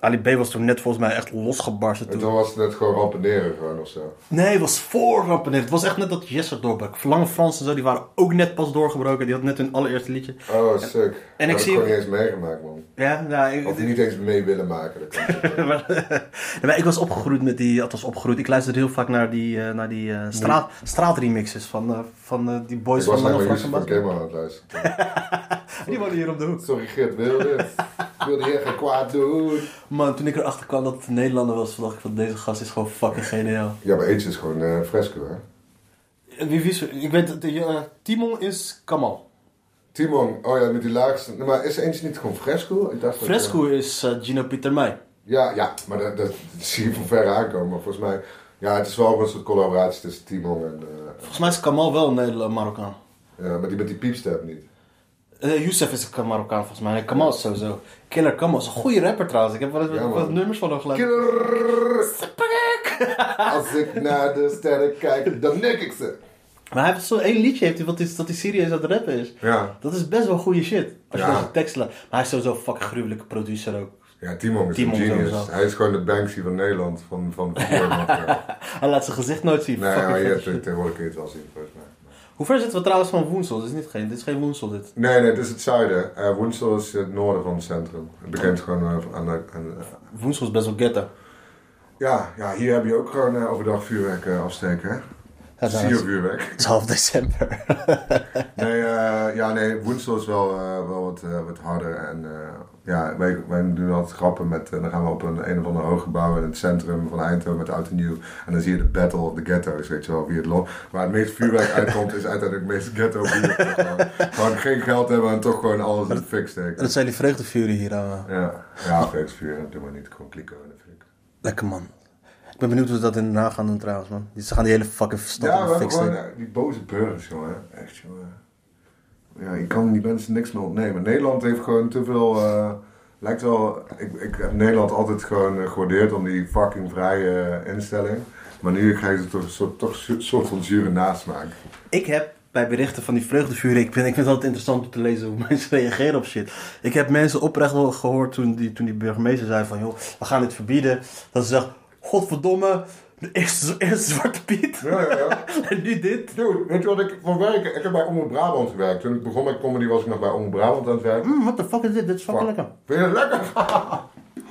Speaker 4: Ali B was toen net volgens mij echt losgebarsten.
Speaker 3: En
Speaker 4: Toen.
Speaker 3: toen was het net gewoon rampeneren gewoon of zo.
Speaker 4: Nee, het was voor Rappeneer. Het was echt net dat Jesse doorbrak. Lange Frans en zo, die waren ook net pas doorgebroken. Die had net hun allereerste liedje.
Speaker 3: Oh, sick.
Speaker 4: ik
Speaker 3: dat heb
Speaker 4: zie-
Speaker 3: gewoon niet eens meegemaakt, man.
Speaker 4: Ja, nou, ik,
Speaker 3: Of niet eens mee willen maken. Dat kan natuurlijk.
Speaker 4: maar, Ja, maar ik was opgegroeid met die, althans opgegroeid, ik luisterde heel vaak naar die, eh, naar die eh, straat, straatremixes van, eh, van eh, die boys
Speaker 3: ik was
Speaker 4: van
Speaker 3: naar
Speaker 4: Lange
Speaker 3: mijn
Speaker 4: Frans en
Speaker 3: Yusuf van Kemmer
Speaker 4: Bas.
Speaker 3: aan het luisteren.
Speaker 4: Die wonen hier op de hoek.
Speaker 3: Sorry, Geert Wilde. Ik wilde hier geen kwaad doen.
Speaker 4: Man, toen ik erachter kwam dat het een Nederlander was, dacht ik van deze gast is gewoon fucking geniaal.
Speaker 3: Ja, maar Eentje is gewoon eh, fresco, hè?
Speaker 4: Wie, wie is er? Ik weet dat eh, Timon is Kamal.
Speaker 3: Timon, oh ja, met die laagste. Nee, maar is Eentje niet gewoon fresco? Ik dacht dat, eh,
Speaker 4: Fresco is eh, Gino Pieter Meij.
Speaker 3: ja, ja, maar dat, dat zie je van ver aankomen. Maar volgens mij, ja, het is wel een soort collaboratie tussen Timon en. eh,
Speaker 4: Volgens mij is Kamal wel een Nederlander, Marokkaan.
Speaker 3: ja, maar die met die piepstep niet.
Speaker 4: Eh Youssef is een Marokkaan volgens mij. En Kamal is sowieso. Killer Kamal is een goede rapper trouwens. Ik heb wel eens
Speaker 3: Ja, man.
Speaker 4: wat nummers van hem geluisterd.
Speaker 3: Killer! Als ik naar de sterren kijk, dan nek ik ze.
Speaker 4: Maar hij heeft zo'n één liedje heeft hij, wat is, dat hij serieus aan het rappen is.
Speaker 3: Ja.
Speaker 4: Dat is best wel goede shit. Als
Speaker 3: Ja.
Speaker 4: je naar zijn tekst luistert. Maar hij is sowieso een fucking gruwelijke producer ook.
Speaker 3: Ja, Timon is
Speaker 4: Timon
Speaker 3: een genius.
Speaker 4: sowieso.
Speaker 3: Hij is gewoon de Banksy van Nederland. Van, van, van
Speaker 4: Hij laat zijn gezicht nooit zien.
Speaker 3: nee,
Speaker 4: Fucking
Speaker 3: nou ja, je
Speaker 4: vette
Speaker 3: hebt-
Speaker 4: shit.
Speaker 3: tegenwoordig kun je het wel zien, volgens mij.
Speaker 4: Hoe ver zitten we trouwens van Woensel? Dit is, niet geen, dit is geen Woensel dit.
Speaker 3: Nee, nee, het is het zuiden. Eh Woensel is het noorden van het centrum. Het begint gewoon eh, aan de... aan de-
Speaker 4: Woensel is best wel ghetto.
Speaker 3: ja, ja, hier heb je ook gewoon eh, overdag vuurwerk eh, afsteken, hè?
Speaker 4: Ja,
Speaker 3: Zie je
Speaker 4: Het
Speaker 3: vuurwerk.
Speaker 4: is half december.
Speaker 3: Nee, eh, ja, nee, Woensel is wel, eh, wel wat, eh, wat harder. En eh, ja, wij, wij doen altijd grappen met. eh, dan gaan we op een, een of ander hooggebouw in het centrum van Eindhoven met oud en nieuw. En dan zie je de Battle of the Ghetto's, weet je wel, wie het lo. Waar het meest vuurwerk uitkomt, is uiteindelijk het meest ghetto bier. gewoon, gewoon geen geld hebben en toch gewoon alles in de fik steken.
Speaker 4: Dat zijn die vreugdevuren hier allemaal.
Speaker 3: Ja, ja, vuur, doe maar niet. Gewoon klikken in de fik.
Speaker 4: Lekker man. Ik ben benieuwd hoe ze dat in Den Haag gaan doen trouwens man. Ze gaan die hele fucking stad
Speaker 3: Ja,
Speaker 4: aan
Speaker 3: we
Speaker 4: de
Speaker 3: hebben
Speaker 4: fik
Speaker 3: gewoon
Speaker 4: steken.
Speaker 3: eh, die boze burgers, jongen. Echt, jongen. Ja, je kan die mensen niks meer ontnemen. Nederland heeft gewoon te veel... eh, lijkt wel... Ik, ik heb Nederland altijd gewoon eh, gewaardeerd om die fucking vrije eh, instelling. Maar nu krijg je toch een soort, toch een soort van zure nasmaak.
Speaker 4: Ik heb bij berichten van die vreugdevuren, ik, ben, ik vind het altijd interessant om te lezen hoe mensen reageren op shit. Ik heb mensen oprecht wel gehoord toen die, toen die burgemeester zei van, joh, we gaan dit verbieden. Dat ze zeggen, godverdomme, eerst, eerst Zwarte Piet
Speaker 3: Ja, ja, ja.
Speaker 4: en nu dit.
Speaker 3: Dude, weet je wat ik voor werk... Ik heb bij Omroep Brabant gewerkt. Toen ik begon met comedy was ik nog bij Omroep Brabant aan het werken.
Speaker 4: Mm, what the fuck is dit? Dit is fucking lekker.
Speaker 3: Vind je het lekker?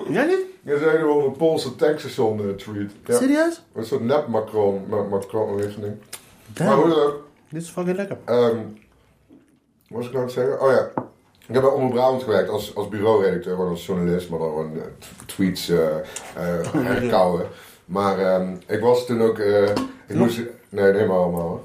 Speaker 4: Jij niet?
Speaker 3: Je zei gewoon een Poolse tankstation eh, treat. Ja.
Speaker 4: Serieus?
Speaker 3: Een soort nep-macron. ma- Macron, weet je niet. Maar
Speaker 4: Damn,
Speaker 3: hoe dan ook.
Speaker 4: dit is fucking lekker.
Speaker 3: Ehm wat was ik nou aan het zeggen? Oh ja. Ik heb bij Omroep Brabant gewerkt als, als bureauredacteur, gewoon als journalist, maar dan gewoon eh, t- tweets eh eh, herkauwen. Maar ehm, ik was toen ook. eh, ik moest, nee, nee, maar allemaal. hoor.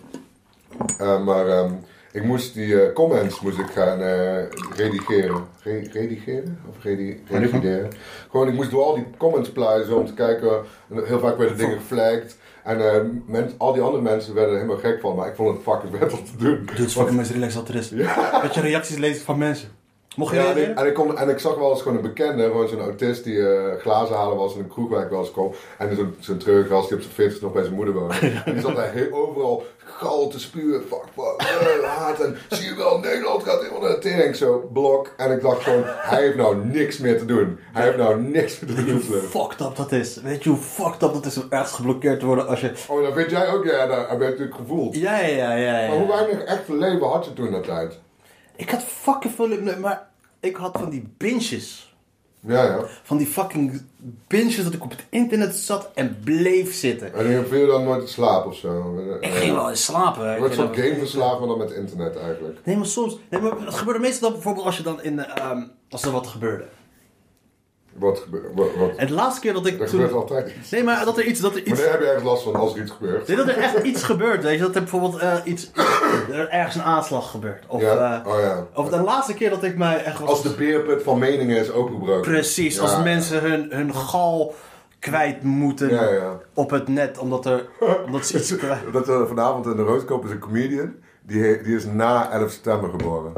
Speaker 3: Eh, maar ehm, ik moest die eh, comments moest ik gaan eh, redigeren. Re- redigeren? Of redi redigeren? Gewoon, ik moest door al die comments pluizen om te kijken. En Heel vaak werden dingen geflagged. En eh, men- al die andere mensen werden er helemaal gek van, maar ik vond het fucking vet om te doen.
Speaker 4: Dude, het is fucking mensen relaxed dat er is. Dat je reacties leest van mensen. Mocht je
Speaker 3: Ja, en ik,
Speaker 4: reageren?
Speaker 3: en, ik kon, en ik zag wel eens gewoon een bekende, gewoon zo'n autist die eh, glazen halen was in een kroeg waar ik wel eens kwam. En zo'n zo'n treurig gast die op zijn 40 nog bij zijn moeder woonde. En die zat daar heel, overal gal te spuwen, fuck, fuck, eh, haat. En zie je wel, Nederland gaat helemaal naar de tering. Zo, blok. En ik dacht gewoon, hij heeft nou niks meer te doen. Hij heeft nou niks meer te doen. in het
Speaker 4: Hoe
Speaker 3: leven.
Speaker 4: fucked up dat is. Weet je hoe fucked up dat is om ergens geblokkeerd te worden als je...
Speaker 3: Oh, dat vind jij ook, ja, dat heb je natuurlijk gevoeld.
Speaker 4: Ja, ja, ja, ja. ja.
Speaker 3: Maar hoe weinig echt leven had je toen dat tijd?
Speaker 4: Ik had fucking veel... nee, Maar ik had van die binges.
Speaker 3: Ja, ja.
Speaker 4: Van die fucking binges dat ik op het internet zat en bleef zitten.
Speaker 3: En je viel dan nooit te slapen of zo.
Speaker 4: Ik ging wel eens slapen. hè.
Speaker 3: Je
Speaker 4: Ik
Speaker 3: wordt
Speaker 4: weet
Speaker 3: zo'n
Speaker 4: dat-
Speaker 3: game verslaafd, maar dan met internet eigenlijk.
Speaker 4: Nee, maar soms... Nee, maar het gebeurde meestal dan bijvoorbeeld als je dan in... eh, ehm, als er wat gebeurde.
Speaker 3: Wat gebeurt wat, wat-
Speaker 4: En de laatste keer dat ik
Speaker 3: Er
Speaker 4: toen...
Speaker 3: gebeurt altijd iets.
Speaker 4: Nee, maar dat er iets... Dat er
Speaker 3: Maar
Speaker 4: iets...
Speaker 3: daar heb je ergens last van als er iets gebeurt.
Speaker 4: Nee, dat er echt iets gebeurt, weet je. Dat er bijvoorbeeld eh, iets... er ergens een aanslag gebeurt. Of,
Speaker 3: Ja?
Speaker 4: eh,
Speaker 3: Oh ja.
Speaker 4: of de laatste keer dat ik mij echt was...
Speaker 3: Als de beerput van meningen is opengebroken.
Speaker 4: Precies, als
Speaker 3: Ja.
Speaker 4: mensen hun, hun gal kwijt moeten
Speaker 3: Ja, ja.
Speaker 4: op het net, omdat, er, omdat ze iets kwijt...
Speaker 3: Dat we vanavond in de Roodkoop is een comedian. Die, he- die is na 11 september geboren.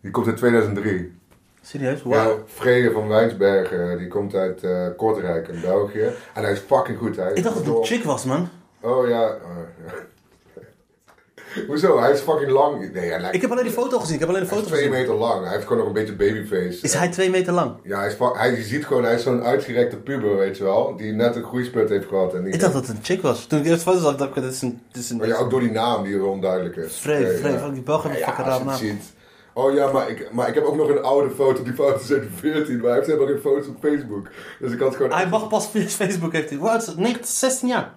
Speaker 3: Die komt uit 2003.
Speaker 4: Serieus? Wauw.
Speaker 3: Ja, Vrede van Wijnsbergen. Die komt uit eh, Kortrijk in België. En hij is fucking goed. Oh, Hij is
Speaker 4: Ik dacht dat het
Speaker 3: door-
Speaker 4: een chick was, man.
Speaker 3: Oh ja. Oh, ja. Hoezo? Hij is fucking lang. Nee, hij lijkt
Speaker 4: Ik heb alleen die foto gezien. Ik heb alleen de
Speaker 3: hij is
Speaker 4: foto
Speaker 3: twee
Speaker 4: gezien.
Speaker 3: meter lang. Hij heeft gewoon nog een beetje babyface.
Speaker 4: Is hij twee meter lang?
Speaker 3: Ja, hij is, fa- hij, je ziet gewoon, hij is zo'n uitgerekte puber, weet je wel. Die net een groeispurt heeft gehad. En die,
Speaker 4: Ik dacht dat het een chick was. Toen ik eerst foto zag, dacht ik, dit is een... Dit is een
Speaker 3: Maar ja, ook door die naam die heel onduidelijk is.
Speaker 4: Vreef,
Speaker 3: Oké,
Speaker 4: Vreef, want die Belgen hebben fucking
Speaker 3: als je
Speaker 4: raar
Speaker 3: het ziet. Oh ja, maar ik, maar ik heb ook nog een oude foto. Die foto is uit 14, maar hij heeft helemaal geen foto's op Facebook. Dus ik had gewoon...
Speaker 4: Hij mag pas via Facebook heeft hij. Hoe oud is het? 19, 16 jaar.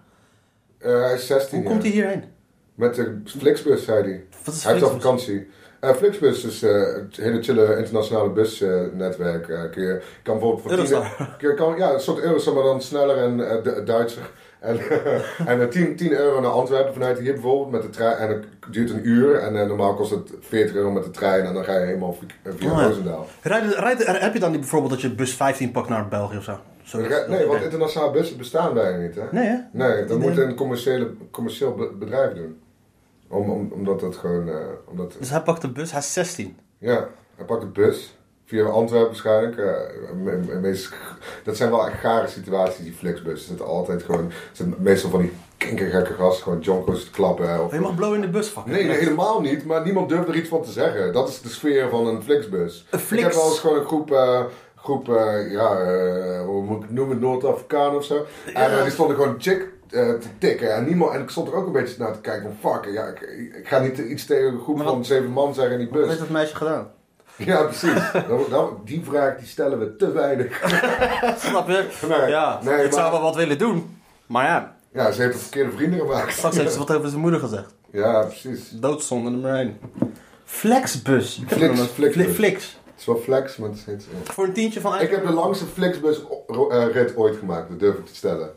Speaker 3: Eh, hij is 16
Speaker 4: Hoe
Speaker 3: jaar.
Speaker 4: komt hij hierheen?
Speaker 3: Met de Flixbus, zei hij.
Speaker 4: Wat is
Speaker 3: hij heeft al
Speaker 4: Flixbus?
Speaker 3: vakantie. Eh, Flixbus is eh, het hele chille internationale busnetwerk. kun je kan bijvoorbeeld voor
Speaker 4: Eurostar.
Speaker 3: tien- kun je- kan, ja, een soort Eurostar, maar dan sneller en eh, du- Duitser. En, en eh, 10, 10 euro naar Antwerpen vanuit hier bijvoorbeeld met de trein. En het duurt een uur. En eh, normaal kost het 40 euro met de trein. En dan ga je helemaal via- eh, via
Speaker 4: Oh ja.
Speaker 3: Roosendaal.
Speaker 4: Rijd, rijd, er- heb je dan die, bijvoorbeeld dat je bus 15 pakt naar België of zo? zo dat-
Speaker 3: Nee, want
Speaker 4: dat-
Speaker 3: internationale bussen bestaan bijna niet. Hè?
Speaker 4: Nee, hè?
Speaker 3: Nee, dat
Speaker 4: Nee.
Speaker 3: moet een commerciële, commercieel be- bedrijf doen. Om, om, omdat dat gewoon... eh, omdat,
Speaker 4: Dus hij pakt de bus, hij is 16.
Speaker 3: Ja, hij pakt de bus. Via Antwerpen waarschijnlijk. Eh, me- me- meest- dat zijn wel echt gare situaties, die flexbus. Er zitten altijd gewoon... er zitten meestal van die kinkergekke gasten. Gewoon jonko's te klappen. hè, Of,
Speaker 4: Of je mag blow in de bus, fuck.
Speaker 3: Nee, nee, helemaal niet. Maar niemand durft er iets van te zeggen. Dat is de sfeer van een flexbus.
Speaker 4: Een
Speaker 3: Ik
Speaker 4: flix.
Speaker 3: heb wel eens gewoon een groep... eh, groep, eh, ja, eh, hoe moet ik het noemen? Noord-Afrikaan of zo. En eh, die stonden gewoon chick eh, te tikken. En, niemand, en ik stond er ook een beetje naar te kijken van... Fuck, ja, ik, ik ga niet iets tegen een groep
Speaker 4: Maar wat-
Speaker 3: van zeven man zeggen in die
Speaker 4: Wat
Speaker 3: bus.
Speaker 4: heeft dat meisje gedaan?
Speaker 3: Ja, precies. Nou, nou, die vraag die stellen we te weinig.
Speaker 4: Snap je?
Speaker 3: Nee,
Speaker 4: ja,
Speaker 3: nee,
Speaker 4: ik zou
Speaker 3: maar-
Speaker 4: wel wat willen doen. Maar ja,
Speaker 3: Ja, ze heeft een verkeerde vrienden gemaakt.
Speaker 4: straks heeft ze wat over zijn moeder gezegd.
Speaker 3: Ja, precies.
Speaker 4: Doodzonde nummer 1. Flexbus. Ik heb
Speaker 3: Flix,
Speaker 4: er nog-
Speaker 3: flixbus.
Speaker 4: Fli- Flix.
Speaker 3: Het is wel flex, maar het is niet...
Speaker 4: Voor een tientje van...
Speaker 3: Ik heb de langste flexbusrit eh, ooit gemaakt, dat durf ik te stellen.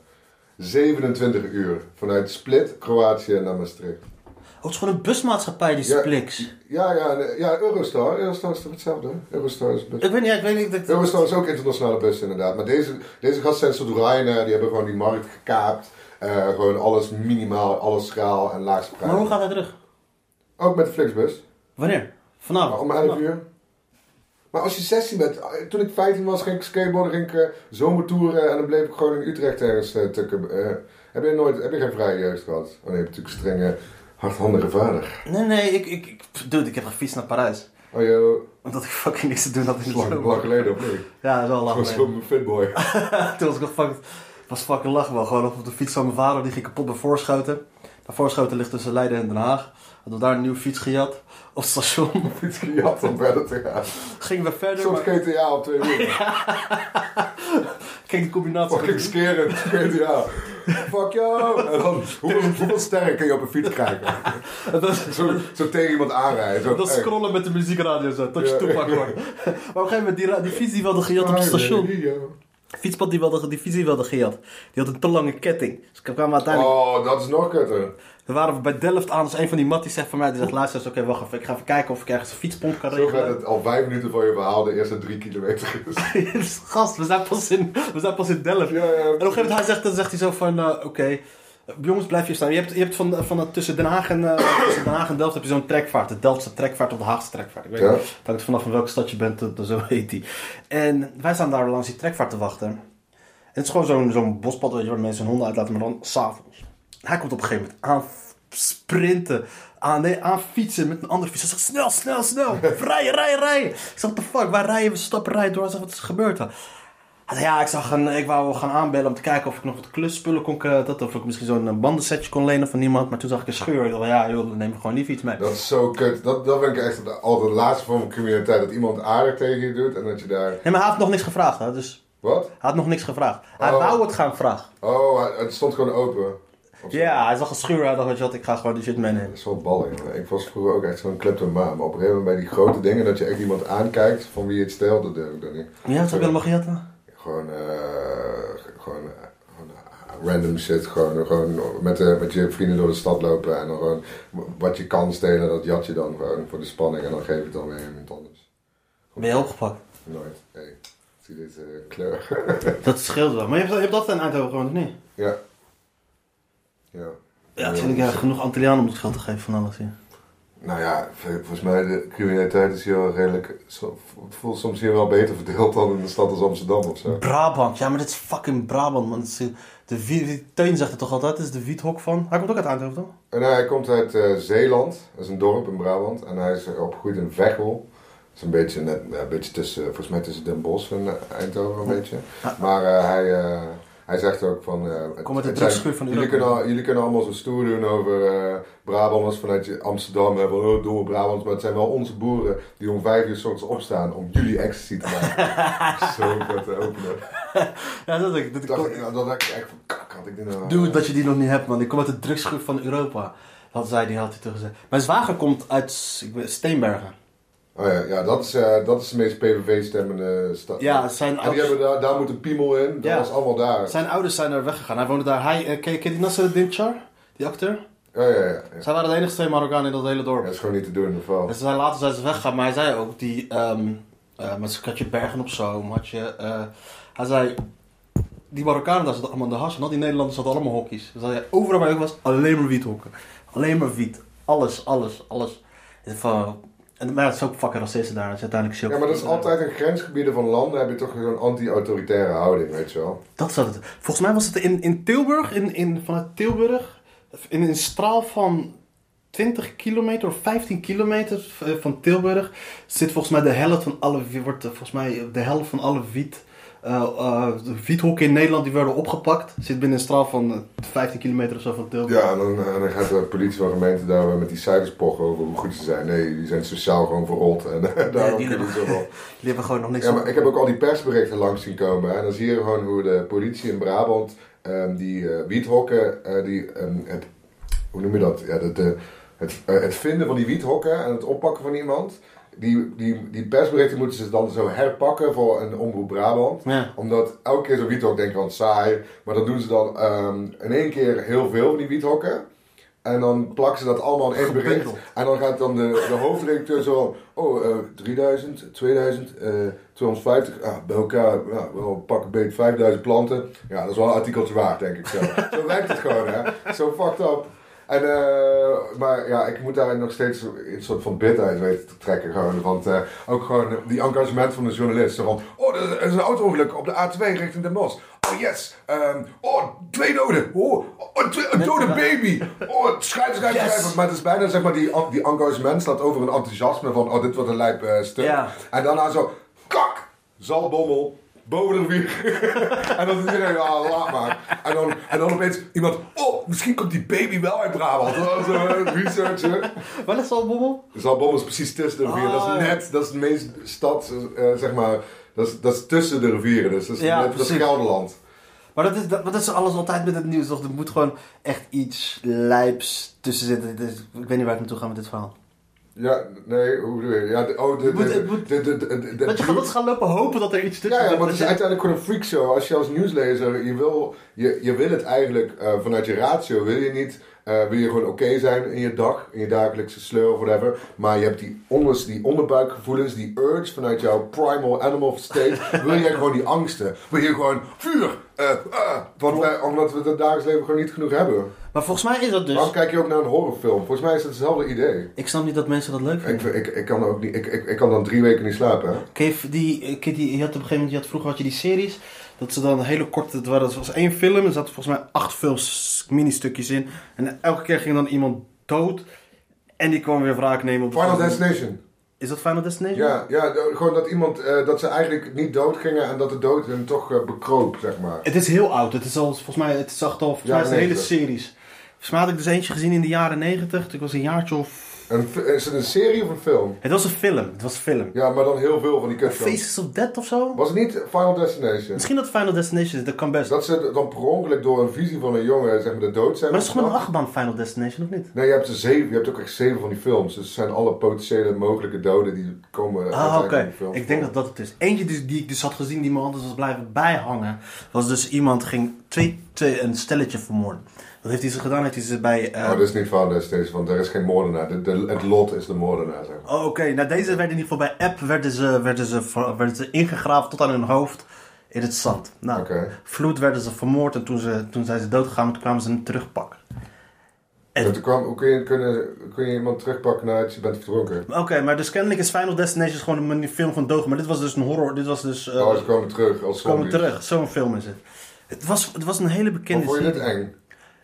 Speaker 3: 27 uur. Vanuit Split, Kroatië naar Maastricht.
Speaker 4: Oh, het is gewoon een busmaatschappij, die
Speaker 3: Ja.
Speaker 4: Flix.
Speaker 3: Ja, ja, nee, ja Eurostar. Eurostar is toch hetzelfde? hè? Eurostar is bus.
Speaker 4: Ik weet niet, ja, ik weet niet. dat-
Speaker 3: Eurostar is ook internationale bus inderdaad. Maar deze, deze gasten zijn Soedoerainen, die hebben gewoon die markt gekaapt. Eh, gewoon alles minimaal, alles schaal en laagste prijs.
Speaker 4: Maar hoe gaat hij terug?
Speaker 3: Ook met de flexbus.
Speaker 4: Wanneer? Vanavond.
Speaker 3: Maar Nou, om 11
Speaker 4: Vanavond.
Speaker 3: uur. Maar als je 16 bent, eh, toen ik 15 was, ging ik skateboarden, ging ik eh, zomertoeren en dan bleef ik gewoon in Utrecht ergens eh, tukken. Eh, heb je nooit, heb je geen vrije jeugd gehad? Oh nee, je hebt natuurlijk een strenge, hardhandige vader.
Speaker 4: Nee, nee, ik, ik, ik. Dude, ik heb gefietst naar Parijs.
Speaker 3: Oh joh,
Speaker 4: Omdat ik fucking niks te doen had in de
Speaker 3: lang,
Speaker 4: zomer.
Speaker 3: lang geleden of niet?
Speaker 4: Ja, dat is wel
Speaker 3: Ik was
Speaker 4: lang.
Speaker 3: gewoon een fitboy.
Speaker 4: Toen was ik nog fucking, was fucking lachen wel. Gewoon op de fiets van mijn vader, die ging kapot bij Voorschoten. Bij Voorschoten ligt tussen Leiden en Den Haag. Hadden we daar een nieuwe fiets gejat. Op het station.
Speaker 3: Fiets gejat om verder te gaan.
Speaker 4: Gingen we verder.
Speaker 3: Soms
Speaker 4: Maar...
Speaker 3: GTA op twee wielen.
Speaker 4: Kijk, de combinatie.
Speaker 3: Fucking skerend, GTA. Fuck jou! En dan, hoeveel, hoeveel sterren kun je op een fiets krijgen?
Speaker 4: Dat-
Speaker 3: Zo, zo tegen iemand aanrijden. Zo,
Speaker 4: Dat
Speaker 3: hey.
Speaker 4: scrollen met de muziekradio zo, tot je
Speaker 3: Ja.
Speaker 4: toepak wordt. Maar op een gegeven moment, die, ra- die fiets die we hadden gejat op het station. Fietspad die we hadden, die fiets die we hadden gejat. Die had een te lange ketting. Dus ik kwam uiteindelijk...
Speaker 3: Oh, dat is nog kutter.
Speaker 4: We waren bij Delft aan, dus een van die matties zegt van mij, die zegt luister eens, oké wacht even, ik ga even kijken of ik ergens een fietspomp kan
Speaker 3: Zo gaat
Speaker 4: regelen.
Speaker 3: het al vijf minuten van je verhaal de eerste drie kilometer is.
Speaker 4: Gast, we zijn pas in, we zijn pas in Delft.
Speaker 3: Ja, ja.
Speaker 4: En op een gegeven moment hij zegt, dan zegt hij zo van, eh, oké, jongens blijf hier staan. Je hebt, je hebt van, van het- tussen Den Haag en, eh, tussen Den Haag en Delft heb je zo'n trekvaart. De Delftse trekvaart of de Haagse trekvaart. Ik weet
Speaker 3: Ja.
Speaker 4: niet, het hangt vanaf van welke stad je bent, eh, zo heet die. En wij staan daar langs die trekvaart te wachten. En het is gewoon zo'n zo'n bospad weet je, waar mensen hun honden uitlaten, maar dan s'avonds. Hij komt op een gegeven moment aan sprinten, aan, nee, aan fietsen met een andere fiets. Hij zegt, snel, snel, snel, rijden, rijden, rijden. Ik zeg, what the fuck, waar rijden we? Stappen, rijden door. Hij zegt, wat is er gebeurd dan? Hij zei, ja, ik, zag een, ik wou gaan aanbellen om te kijken of ik nog wat klusspullen kon... eh, Dat, of ik misschien zo'n eh, bandensetje kon lenen van iemand. Maar toen zag ik een scheur. Ik dacht, ja, joh, dan neem ik gewoon die fiets mee.
Speaker 3: Dat is zo kut. Dat, dat vind ik echt de- al de laatste vorm van criminaliteit. Dat iemand aardig tegen je doet en dat je daar...
Speaker 4: Nee, maar hij had nog niks gevraagd, hè, dus...
Speaker 3: Wat?
Speaker 4: Hij had nog niks gevraagd. Hij
Speaker 3: Oh.
Speaker 4: wou het gaan vragen.
Speaker 3: Oh, hij- het stond gewoon open. Of zo.
Speaker 4: Ja, hij zag een scheur. Hij dacht, weet je wat, ik ga gewoon die shit meenemen.
Speaker 3: Dat is wel ballen, jongen. Ik was vroeger ook echt zo'n kleptomaan. Maar op een gegeven moment bij die grote dingen dat je echt iemand aankijkt van wie je het stelt, dat durf ik dan niet.
Speaker 4: Ja, dat heb ik helemaal gejat, hè?
Speaker 3: Gewoon, eh, gewoon, eh, gewoon eh, random shit. Gewoon, gewoon met, eh, met je vrienden door de stad lopen en dan gewoon wat je kan stelen, dat jat je dan gewoon voor de spanning en dan geef je het dan weer aan iemand anders.
Speaker 4: Ben je opgepakt?
Speaker 3: Nooit. Hey, zie deze eh, kleur.
Speaker 4: Dat scheelt wel. Maar je hebt, je hebt dat in Eindhoven gewoon, of niet?
Speaker 3: ja. Ja.
Speaker 4: Ja, natuurlijk. Ja, genoeg Antillianen om het geld te geven van alles, ja.
Speaker 3: Nou ja, v- volgens mij de criminaliteit is hier wel redelijk. zo- Het voelt soms hier wel beter verdeeld dan in de stad als Amsterdam of zo.
Speaker 4: Brabant, ja, maar dit is fucking Brabant, man. Het is- eh, De, Wie- Teun zegt het toch altijd, het is de Wiethok van. Hij komt ook uit Eindhoven, toch?
Speaker 3: En hij komt uit eh, Zeeland, dat is een dorp in Brabant. En hij is opgegroeid in Veghel. Dat is een beetje, net, ja, een beetje tussen, volgens mij tussen Den Bosch en eh, Eindhoven een beetje. Maar eh, hij, eh, hij zegt ook van... eh, het-
Speaker 4: Kom uit de
Speaker 3: het zijn-
Speaker 4: drugschuur van
Speaker 3: jullie
Speaker 4: Europa.
Speaker 3: kunnen, al- jullie kunnen allemaal zo stoer doen over eh Brabanders vanuit je- Amsterdam. Hebben oh, door Brabant, maar het zijn wel onze boeren die om vijf uur 's ochtends opstaan om jullie ecstasy te maken. zo om dat te openen.
Speaker 4: Ja, dat ik. Dat
Speaker 3: Toen dacht ik, nou, dat dacht ik echt van, kak, had ik dit nou...
Speaker 4: Dude, dat je die nog niet hebt, man. Ik kom uit de drugsgroep van Europa. Had zij die, had hij toen gezegd. Mijn zwager komt uit ik weet, Steenbergen.
Speaker 3: Oh ja, ja dat, is, eh, dat is de meest PVV-stemmende stad.
Speaker 4: Ja, zijn
Speaker 3: En die
Speaker 4: ouders,
Speaker 3: hebben daar, daar moet een piemel in. Dat
Speaker 4: Ja.
Speaker 3: was allemaal daar.
Speaker 4: zijn ouders zijn er weggegaan. Hij woonde daar. Hij, eh, ken, ken je die Nasser Char? Die acteur?
Speaker 3: Ja, ja, ja. ja.
Speaker 4: Zij waren de enige twee Marokkanen in dat hele dorp.
Speaker 3: Ja, dat is gewoon niet te doen in ieder geval.
Speaker 4: En ze zijn later zijn ze weggegaan, maar hij zei ook die. ehm eh met had je Bergen op Zoom, had je. eh, hij zei. Die Marokkanen daar zaten allemaal in de has en al die Nederlanders zaten allemaal hokjes. Dus hij zei, overal waar ik was, alleen maar wiethokken. Alleen maar wiet. Alles, alles, alles. En, van, en maar het is ook fucking racisten daar. Het is uiteindelijk zo.
Speaker 3: Ja, maar dat is altijd in grensgebieden van landen heb je toch zo'n anti-autoritaire houding, weet je wel.
Speaker 4: Dat zat het. Volgens mij was het in, in Tilburg, in, in, vanuit Tilburg, in een straal van 20 kilometer of 15 kilometer eh, van Tilburg, zit volgens mij de helft van alle, wie- wordt eh, volgens mij de helft van alle wiet, eh eh, de wiethokken in Nederland die werden opgepakt, zit binnen een straal van eh, 15 kilometer of zo van Tilburg.
Speaker 3: Ja, en dan, en dan gaat de politie van gemeente daar weer met die cijfers pochen over hoe goed ze zijn. Nee, die zijn sociaal gewoon verrot. En daarom
Speaker 4: die
Speaker 3: kunnen ze wel.
Speaker 4: Die hebben gewoon nog niks
Speaker 3: Ja,
Speaker 4: op-
Speaker 3: maar ik heb ook al die persberichten langs zien komen. hè. En dan zie je gewoon hoe de politie in Brabant ehm, die eh, wiethokken, eh, die, ehm, het, hoe noem je dat? Ja, dat eh, het, eh, het vinden van die wiethokken en het oppakken van iemand. Die, die, die persberichten moeten ze dan zo herpakken voor een omroep Brabant.
Speaker 4: Ja.
Speaker 3: Omdat elke keer zo'n wiethok denkt van saai. Maar dan doen ze dan ehm, in één keer heel veel van die wiethokken. En dan plakken ze dat allemaal in één bericht.
Speaker 4: Gebundeld.
Speaker 3: En dan gaat dan de, de hoofdredacteur zo van, oh, eh, 3000, 2000, eh, 250, ah, bij elkaar, ja, wel een pak een beet 5000 planten. Ja, dat is wel een artikeltje waard, denk ik zo. zo werkt het gewoon, hè. Zo fucked up. En, eh, maar ja, ik moet daarin nog steeds een soort van bitterheid weten te trekken. Gewoon. Want eh, ook gewoon die engagement van de journalist. Zo van, oh, er is een auto-ongeluk op de A2 richting Den Bosch. Oh yes, Ehm, oh, twee doden. Oh, oh, twee- een dode baby. Oh, schrijf, schrijf,
Speaker 4: Yes.
Speaker 3: schrijf. Maar het is bijna zeg maar die, die engagement staat over een enthousiasme van oh dit wordt een lijp eh, stuk.
Speaker 4: Ja.
Speaker 3: En daarna zo kak zal bommel boven de wieg. en dan iedereen ja laat maar. En dan, en dan opeens iemand oh misschien komt die baby wel uit Brabant. Dat was een researcher.
Speaker 4: Wel is al bommel?
Speaker 3: Zalbommel is precies tussen de rivieren. dat
Speaker 4: Ah.
Speaker 3: is net dat is de meest stad eh, zeg maar dat is, dat is tussen de rivieren dus dat is,
Speaker 4: Ja,
Speaker 3: net, dat is
Speaker 4: precies.
Speaker 3: Gelderland.
Speaker 4: Maar dat is, dat, dat is alles altijd met het nieuws, toch? Er moet gewoon echt iets lijps tussen zitten. Dus ik weet niet waar ik naartoe ga met dit verhaal.
Speaker 3: Ja, nee, hoe bedoel je? Ja, de- oh, de...
Speaker 4: moet- het
Speaker 3: de-
Speaker 4: moet-
Speaker 3: de- de- de- de- de-
Speaker 4: Dat je gaat gaan lopen hopen dat er iets tussen
Speaker 3: Ja, ja,
Speaker 4: zit.
Speaker 3: maar het
Speaker 4: Dat
Speaker 3: is
Speaker 4: je-
Speaker 3: uiteindelijk gewoon een freakshow. Als je als nieuwslezer, je wil, je, je wil het eigenlijk eh, vanuit je ratio, wil je niet, eh, wil je gewoon oké zijn in je dag, in je dagelijkse sleur of whatever. Maar je hebt die, onders, die onderbuikgevoelens, die urge vanuit jouw primal animal state, wil jij gewoon die angsten. Wil je gewoon vuur, eh, eh, want wij, omdat we het in het dagelijks leven gewoon niet genoeg hebben.
Speaker 4: Maar volgens mij is dat dus...
Speaker 3: Waarom kijk je ook naar een horrorfilm? Volgens mij is het hetzelfde idee.
Speaker 4: Ik snap niet dat mensen dat leuk
Speaker 3: Ik,
Speaker 4: vinden.
Speaker 3: ik, ik, kan, ook niet, ik, ik, ik kan dan drie weken niet slapen. Hè?
Speaker 4: Ken je die, eh, ken je die, je had op een gegeven moment, je had, vroeger had je die series. Dat ze dan een hele korte, het waren- het was één film. Er zaten volgens mij acht films, mini-stukjes in. En elke keer ging dan iemand dood. En die kwam weer wraak nemen op de
Speaker 3: Final
Speaker 4: volgende-
Speaker 3: Destination.
Speaker 4: Is dat Final Destination?
Speaker 3: Ja, ja d- gewoon dat iemand, eh, dat ze eigenlijk niet dood gingen en dat de dood hen toch eh, bekroop, zeg maar.
Speaker 4: Het is heel oud. Het is al, volgens mij, het is echt al, volgens
Speaker 3: Ja,
Speaker 4: mij is het een hele
Speaker 3: 90.
Speaker 4: series. Volgens mij had ik dus eentje gezien in de jaren negentig. Ik was een jaartje of...
Speaker 3: En, f- is het een serie of een film?
Speaker 4: Het was een film. Het was een film.
Speaker 3: Ja, maar dan heel veel van die kutfilms.
Speaker 4: Faces of Death of zo?
Speaker 3: Was het niet Final Destination?
Speaker 4: Misschien dat Final Destination is, dat kan best.
Speaker 3: Dat ze dan per ongeluk door een visie van een jongen, zeg maar, de dood zijn.
Speaker 4: Maar dat is gewoon een
Speaker 3: ontsnapt?
Speaker 4: achtbaan Final Destination, of niet?
Speaker 3: Nee, je hebt er zeven, je hebt ook echt zeven van die films. Dus het zijn alle potentiële mogelijke doden die komen
Speaker 4: Ah,
Speaker 3: uiteindelijk
Speaker 4: oké.
Speaker 3: in die films
Speaker 4: Ik denk dat dat het is. Eentje die, die ik dus had gezien die me anders was blijven bijhangen, was dus iemand ging twee, twee, een stelletje vermoorden. Dat heeft hij ze gedaan, heeft hij ze bij... eh,
Speaker 3: Oh, dit is niet Final Destination, want er is geen moordenaar. De- de- het lot is de moordenaar, zeg maar.
Speaker 4: Oh, oké. Nou, deze werden in ieder geval bij app werden ze, werden ze, ver- werden ze ingegraven tot aan hun hoofd in het zand. Nou,
Speaker 3: Oké.
Speaker 4: vloed werden ze vermoord en toen, ze, toen zijn ze dood gegaan, maar toen kwamen ze hem terugpakken. En-
Speaker 3: En toen Dus kwam, hoe kun je, kunnen, kun je iemand terugpakken naar het, je bent verdronken?
Speaker 4: Oké, maar dus kennelijk is Final Destination gewoon een mini- film van Dogen. Maar dit was dus een horror. Dit was dus... eh,
Speaker 3: Oh, ze kwamen terug als
Speaker 4: ze komen
Speaker 3: zombies.
Speaker 4: terug. Zo'n film is het. Het was, het was een hele
Speaker 3: Maar
Speaker 4: bekende
Speaker 3: vond je dit
Speaker 4: serie.
Speaker 3: eng?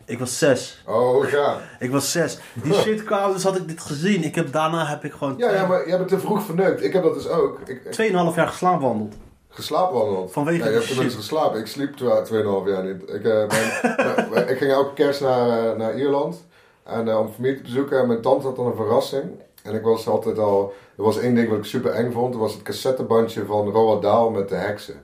Speaker 4: Ik was zes.
Speaker 3: Oh ja.
Speaker 4: Ik was zes. Die shit kwam, dus had ik dit gezien. Ik heb, daarna heb ik gewoon
Speaker 3: Ja, ja, maar jij bent te vroeg verneukt. Ik heb dat dus ook. Ik, ik
Speaker 4: tweeënhalf jaar geslaapwandeld.
Speaker 3: geslaapwandeld.
Speaker 4: Vanwege
Speaker 3: Nee, ik
Speaker 4: de
Speaker 3: heb tenminste
Speaker 4: shit.
Speaker 3: geslapen. Ik sliep twa- 2,5 jaar niet. Ik, eh, mijn- mijn- mijn- ik ging elke kerst naar, eh, naar Ierland en, eh, om familie te bezoeken. En mijn tante had dan een verrassing. En ik was altijd al... Er was één ding wat ik super eng vond. Dat was het cassettebandje van Roald Dahl met de heksen.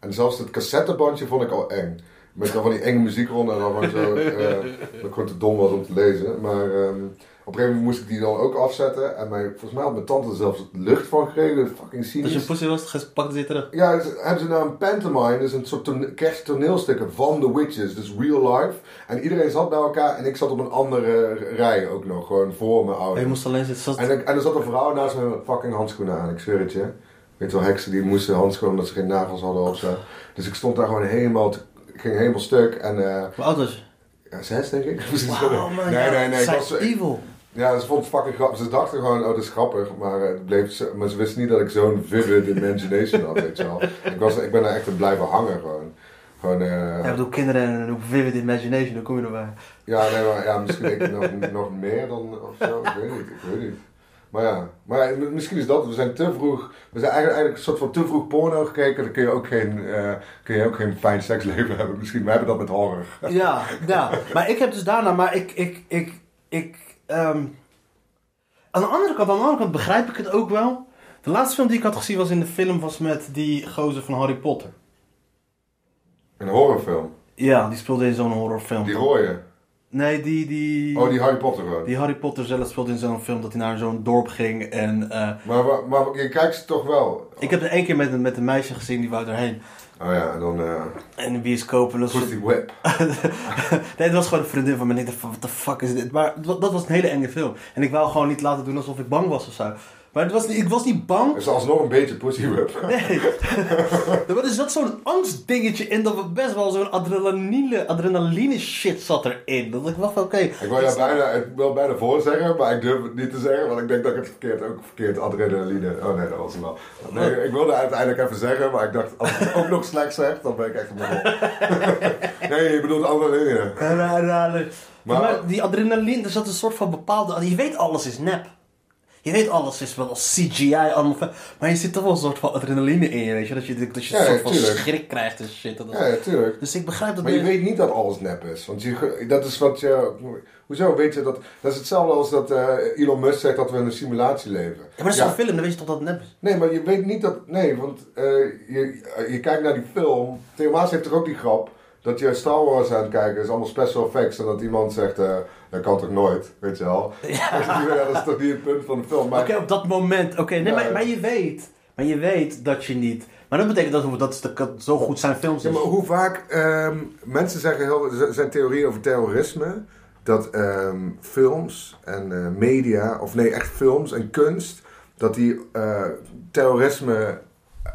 Speaker 3: En zelfs het cassettebandje vond ik al eng. Met dan van die enge muziek rond en dan gewoon zo... eh, dat ik gewoon te dom was om te lezen. Maar ehm, op een gegeven moment moest ik die dan ook afzetten. En mijn, volgens mij had mijn tante er zelfs lucht van gekregen. Fucking cynisch.
Speaker 4: Dus je poesie was gepakt en zit terug.
Speaker 3: Ja, ze- hebben ze nou een pantomime, dus een soort tone- kersttoneelstukken van The Witches, dus real life. En iedereen zat bij elkaar en ik zat op een andere rij ook nog, gewoon voor mijn
Speaker 4: Je
Speaker 3: ouders.
Speaker 4: moest alleen zitten. Zat...
Speaker 3: En, ik- en er zat een vrouw naast me met fucking handschoenen aan, ik zweer het je. Weet je wel, heksen die moesten handschoenen omdat ze geen nagels hadden of zo. Dus ik stond daar gewoon helemaal, te- ik ging helemaal stuk en... eh
Speaker 4: Hoe oud was je?
Speaker 3: ja, zes denk ik?
Speaker 4: Wauw, man.
Speaker 3: nee,
Speaker 4: ja,
Speaker 3: nee, nee, ik
Speaker 4: zij
Speaker 3: was,
Speaker 4: is evil.
Speaker 3: ja, ze vond het fucking grappig. Ze dachten gewoon, oh, dat is grappig. Maar, eh, het bleef, zo- maar ze wisten niet dat ik zo'n vivid imagination had, weet je wel. Ik, was, ik ben daar echt aan blijven hangen gewoon. Gewoon, eh,
Speaker 4: Ja, ik bedoel, kinderen en een vivid imagination, daar kom je erbij.
Speaker 3: ja, nee, maar ja, misschien ik nog, nog meer dan of zo. Ik weet niet, ik weet niet. Maar ja, maar ja, misschien is dat, we zijn te vroeg, we zijn eigenlijk, eigenlijk een soort van te vroeg porno gekeken. Dan kun je ook geen, eh, kun je ook geen fijn seksleven hebben. Misschien, we hebben dat met horror.
Speaker 4: Ja, ja. Maar ik heb dus daarna, maar ik, ik, ik, ik, ehm, aan de andere kant, aan de andere kant begrijp ik het ook wel. De laatste film die ik had gezien was in de film was met die gozer van Harry Potter.
Speaker 3: Een horrorfilm.
Speaker 4: Ja, die speelde in zo'n horrorfilm.
Speaker 3: Die rode.
Speaker 4: Nee, die, die,
Speaker 3: Oh, die Harry Potter gewoon.
Speaker 4: die Harry Potter zelf speelde in zo'n film dat hij naar zo'n dorp ging en... eh,
Speaker 3: Maar, maar, maar je kijkt ze toch wel.
Speaker 4: ik heb er één keer met een, met een meisje gezien, die wou erheen.
Speaker 3: Oh ja, en dan... eh,
Speaker 4: En de bioscoop en dat soort-
Speaker 3: Pussy Whip.
Speaker 4: nee, het was gewoon een vriendin van me. En ik dacht van, wat de fuck is dit? Maar dat dat was een hele enge film. En ik wou gewoon niet laten doen alsof ik bang was of zo. Maar het was niet, ik was niet bang.
Speaker 3: Is alsnog een beetje Pussy Whip.
Speaker 4: Nee. er was- er zat zo'n angstdingetje in dat we best wel zo'n adrenaline, adrenaline shit zat erin. Dat ik dacht van, oké. Dus-
Speaker 3: Ik wil daar bijna, ik wil bijna voor zeggen, maar ik durf het niet te zeggen, want ik denk dat ik het verkeerd, ook verkeerd adrenaline. Oh nee, dat was hem wel. Nee, ik wilde uiteindelijk even zeggen, maar ik dacht, als ik het ook nog slecht zeg, dan ben ik echt op mijn rol. Nee, je bedoelt adrenaline.
Speaker 4: Adrenaline. Maar,
Speaker 3: Maar-
Speaker 4: die adrenaline, er zat een soort van bepaalde... Je weet alles is nep. Je weet alles is wel CGI, allemaal... ve- Maar je zit toch wel een soort van adrenaline in je, weet je? Dat je, dat je een
Speaker 3: Ja,
Speaker 4: soort van
Speaker 3: tuurlijk.
Speaker 4: schrik krijgt en shit. Dat is-
Speaker 3: Ja, ja, tuurlijk.
Speaker 4: Dus ik begrijp dat
Speaker 3: Maar je
Speaker 4: mensen-
Speaker 3: weet niet dat alles nep is. Want je, ge- dat is wat je. Hoezo weet je dat? Dat is hetzelfde als dat eh, Elon Musk zegt dat we in een simulatie leven.
Speaker 4: Ja, maar dat is zo'n film, dan weet je toch dat het nep is?
Speaker 3: Nee, maar je weet niet dat. Nee, want eh, je, je kijkt naar die film. Theo Maas heeft toch ook die grap. Dat je Star Wars aan het kijken is, allemaal special effects. En dat iemand zegt: eh, dat kan toch nooit, weet je wel. Ja, dat is toch niet het punt van de film. Maar
Speaker 4: Oké, op dat moment. Oké, nee,
Speaker 3: Ja,
Speaker 4: maar,
Speaker 3: ja.
Speaker 4: maar je weet. Maar je weet dat je niet. Maar dat betekent dat, dat, is de- dat zo goed zijn films
Speaker 3: Ja,
Speaker 4: is.
Speaker 3: maar hoe vaak ehm, mensen zeggen, heel, er zijn theorieën over terrorisme, dat ehm, films en eh, media, of nee, echt films en kunst, dat die eh, terrorisme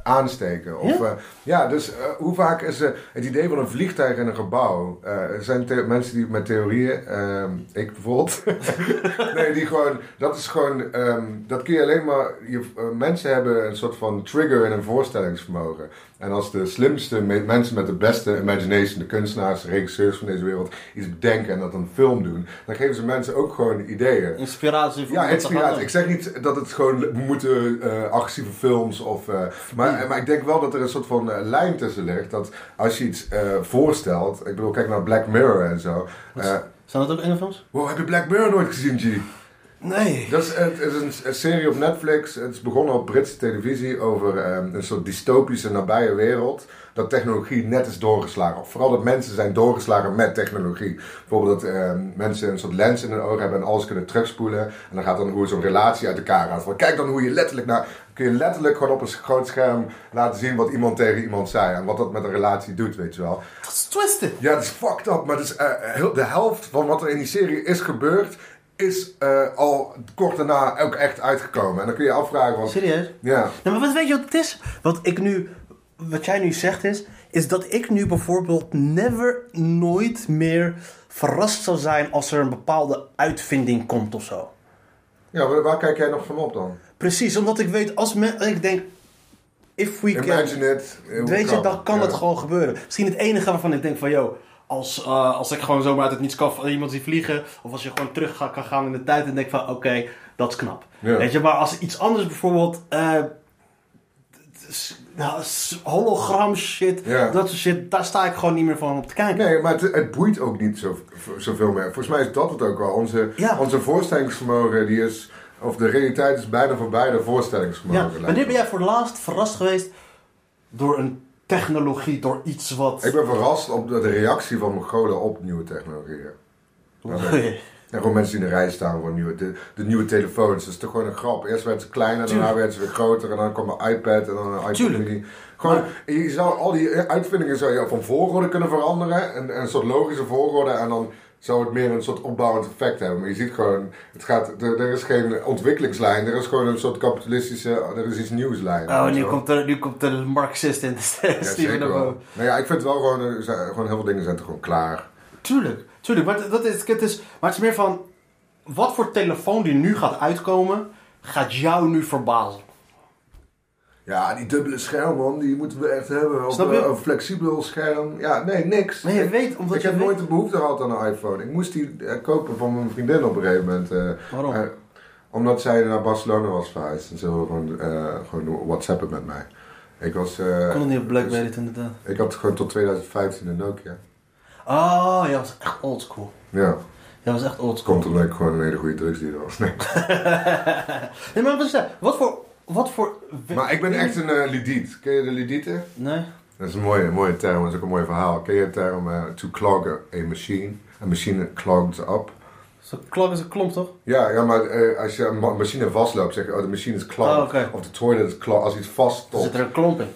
Speaker 3: aansteken. Of,
Speaker 4: Ja?
Speaker 3: ja? ja, dus eh, hoe vaak is eh, het idee van een vliegtuig en een gebouw, eh, er zijn the- mensen die met theorieën, ehm, ik bijvoorbeeld, nee, die gewoon, dat is gewoon, ehm, dat kun je alleen maar, je, eh, mensen hebben een soort van trigger en een voorstellingsvermogen. En als de slimste me- mensen met de beste imagination, de kunstenaars, de regisseurs van deze wereld, iets bedenken en dat een film doen, dan geven ze mensen ook gewoon ideeën.
Speaker 4: Inspiratie voor
Speaker 3: Ja,
Speaker 4: om dat te gaan
Speaker 3: inspiratie.
Speaker 4: doen.
Speaker 3: Ik zeg niet dat het gewoon we moeten eh, agressieve films of. eh, maar, maar ik denk wel dat er een soort van eh, lijn tussen ligt. Dat als je iets eh, voorstelt. Ik bedoel, kijk naar Black Mirror en zo. Eh,
Speaker 4: Zijn dat ook enge films?
Speaker 3: wow, heb je Black Mirror nooit gezien, G?
Speaker 4: Nee.
Speaker 3: Dat is, het is een, een serie op Netflix. Het is begonnen op Britse televisie over ehm, een soort dystopische nabije wereld. Dat technologie net is doorgeslagen. Of vooral dat mensen zijn doorgeslagen met technologie. Bijvoorbeeld dat ehm, mensen een soort lens in hun ogen hebben en alles kunnen terugspoelen. En dan gaat dan hoe zo'n relatie uit elkaar gaat. Van, kijk dan hoe je letterlijk naar... Kun je letterlijk gewoon op een groot scherm laten zien wat iemand tegen iemand zei. En wat dat met een relatie doet, weet je wel.
Speaker 4: Dat is twisted.
Speaker 3: Ja, het is fucked up, maar het is, eh, heel, de helft van wat er in die serie is gebeurd, is eh, al kort daarna ook echt uitgekomen. En dan kun je je afvragen van...
Speaker 4: Serieus?
Speaker 3: Ja.
Speaker 4: Nou, maar wat weet je wat het is? Wat ik nu... Wat jij nu zegt is... Is dat ik nu bijvoorbeeld never, nooit meer verrast zou zijn als er een bepaalde uitvinding komt of zo.
Speaker 3: Ja, maar waar kijk jij nog van op dan?
Speaker 4: Precies, omdat ik weet, als men, ik denk, if we can...
Speaker 3: Imagine it. eh, hoe
Speaker 4: Weet je, dan kan
Speaker 3: Ja.
Speaker 4: het gewoon gebeuren. Misschien het enige waarvan ik denk van, joh, als, eh, als ik gewoon zomaar uit het niets kan van iemand zie vliegen, of als je gewoon terug ga- kan gaan in de tijd en denk van, oké, dat is knap.
Speaker 3: Ja.
Speaker 4: Weet je, maar als iets anders bijvoorbeeld, eh, t- s- nou, s- hologram shit,
Speaker 3: Ja.
Speaker 4: dat soort shit, daar sta ik gewoon niet meer van op te kijken.
Speaker 3: Nee, maar het, het boeit ook niet zo, v- zoveel meer. Volgens mij is dat het ook wel. Onze,
Speaker 4: Ja.
Speaker 3: onze voorstellingsvermogen, die is, of de realiteit is bijna voorbij de voorstellingsvermogen.
Speaker 4: Ja,
Speaker 3: lijkt
Speaker 4: wanneer
Speaker 3: me.
Speaker 4: ben jij voor het laatst verrast geweest door een technologie, door iets wat...
Speaker 3: Ik ben verrast op de de reactie van Mongolen op nieuwe technologieën. En gewoon mensen die in de rij staan voor nieuwe, de, de nieuwe telefoons. Dat is toch gewoon een grap. Eerst werden ze kleiner, daarna
Speaker 4: Tuurlijk.
Speaker 3: werden ze weer groter. En dan kwam een iPad en dan een iPad
Speaker 4: Tuurlijk.
Speaker 3: mini. Gewoon, je zou al die eh, uitvindingen zou je van volgorde kunnen veranderen. En, en een soort logische volgorde. En dan zou het meer een soort opbouwend effect hebben. Maar je ziet gewoon, het gaat, er, er is geen ontwikkelingslijn. Er is gewoon een soort kapitalistische, er is iets nieuwslijn.
Speaker 4: Oh,
Speaker 3: Weet je
Speaker 4: nu
Speaker 3: wel.
Speaker 4: komt, de, nu komt de Marxist en de
Speaker 3: Ja,
Speaker 4: Steven
Speaker 3: zeker
Speaker 4: naar
Speaker 3: wel.
Speaker 4: boven.
Speaker 3: Nou ja, ik vind wel gewoon, er zijn- gewoon heel veel dingen zijn er gewoon klaar.
Speaker 4: Tuurlijk, tuurlijk. Maar, dat is, het is, maar het is meer van... Wat voor telefoon die nu gaat uitkomen, gaat jou nu verbazen.
Speaker 3: Ja, die dubbele scherm, man, die moeten we echt hebben. Of
Speaker 4: Snap je?
Speaker 3: eh, een flexibel scherm. Ja, nee, niks.
Speaker 4: Maar je
Speaker 3: Ik-
Speaker 4: weet, omdat
Speaker 3: ik
Speaker 4: je
Speaker 3: heb
Speaker 4: weet-
Speaker 3: nooit de behoefte gehad aan een iPhone. Ik moest die eh, kopen van mijn vriendin op een gegeven moment. eh,
Speaker 4: Waarom?
Speaker 3: eh, omdat zij naar Barcelona was verhuisd. En ze wilde gewoon, eh gewoon whatsappen met mij. Ik was... eh, dus
Speaker 4: Kon het niet op Blackberry het inderdaad.
Speaker 3: Ik had gewoon tot 2015 een Nokia.
Speaker 4: Oh, jij was echt oldschool.
Speaker 3: Ja,
Speaker 4: Jij was echt oldschool.
Speaker 3: komt omdat ik gewoon een hele goede drugsdealer was. Nee.
Speaker 4: Nee, maar wat is dat? Wat voor... Wat voor...
Speaker 3: Maar ik ben echt een eh, Lidiet. Ken je de Lidieten?
Speaker 4: Nee?
Speaker 3: Dat is een mooie, mooie term, dat is ook een mooi verhaal. Ken je de term eh, to clog a a machine? Een machine clogs up.
Speaker 4: Zo'n klok is een klomp, toch?
Speaker 3: Ja, ja maar eh, als je een ma- machine vastloopt, zeg je, oh, de machine is clogged.
Speaker 4: Oh, oké.
Speaker 3: Of de toilet is clogged. Als iets
Speaker 4: Er
Speaker 3: vaststopt.
Speaker 4: zit er een klomp in.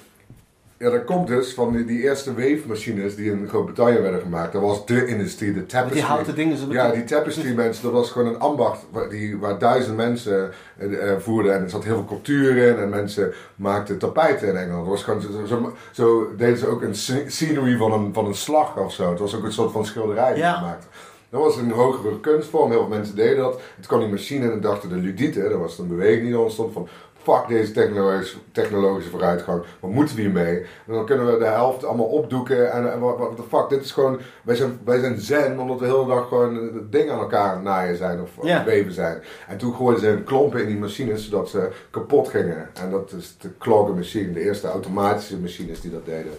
Speaker 3: Ja, dat komt dus van die, die eerste weefmachines die in Groot-Brittannië werden gemaakt. Dat was de industrie, de tapestry.
Speaker 4: Die houten dingen, zo
Speaker 3: Ja,
Speaker 4: bedoel-
Speaker 3: die tapestry mensen, dat was gewoon een ambacht waar, die, waar duizend mensen eh, eh, voerden. En er zat heel veel cultuur in en mensen maakten tapijten in Engeland. Het was gewoon, zo, zo, zo deden ze ook een sce- scenery van een, van een slag of zo. Het was ook een soort van schilderij die
Speaker 4: Ja.
Speaker 3: ze maakten. Dat was een hogere kunstvorm, heel veel mensen deden dat. Het kwam die machine en dachten de ludieten, dat was een beweging die er ontstond van... Fuck deze technologische, technologische vooruitgang, wat moeten we hiermee? En dan kunnen we de helft allemaal opdoeken en, en wat wat de fuck, dit is gewoon... Wij zijn, wij zijn zen, omdat we de hele dag gewoon eh, dingen aan elkaar aan het naaien zijn of
Speaker 4: Ja.
Speaker 3: ja. weven zijn. En toen gooiden ze hun klompen in die machines, zodat ze kapot gingen. En dat is de klokkenmachine, de eerste automatische machines die dat deden.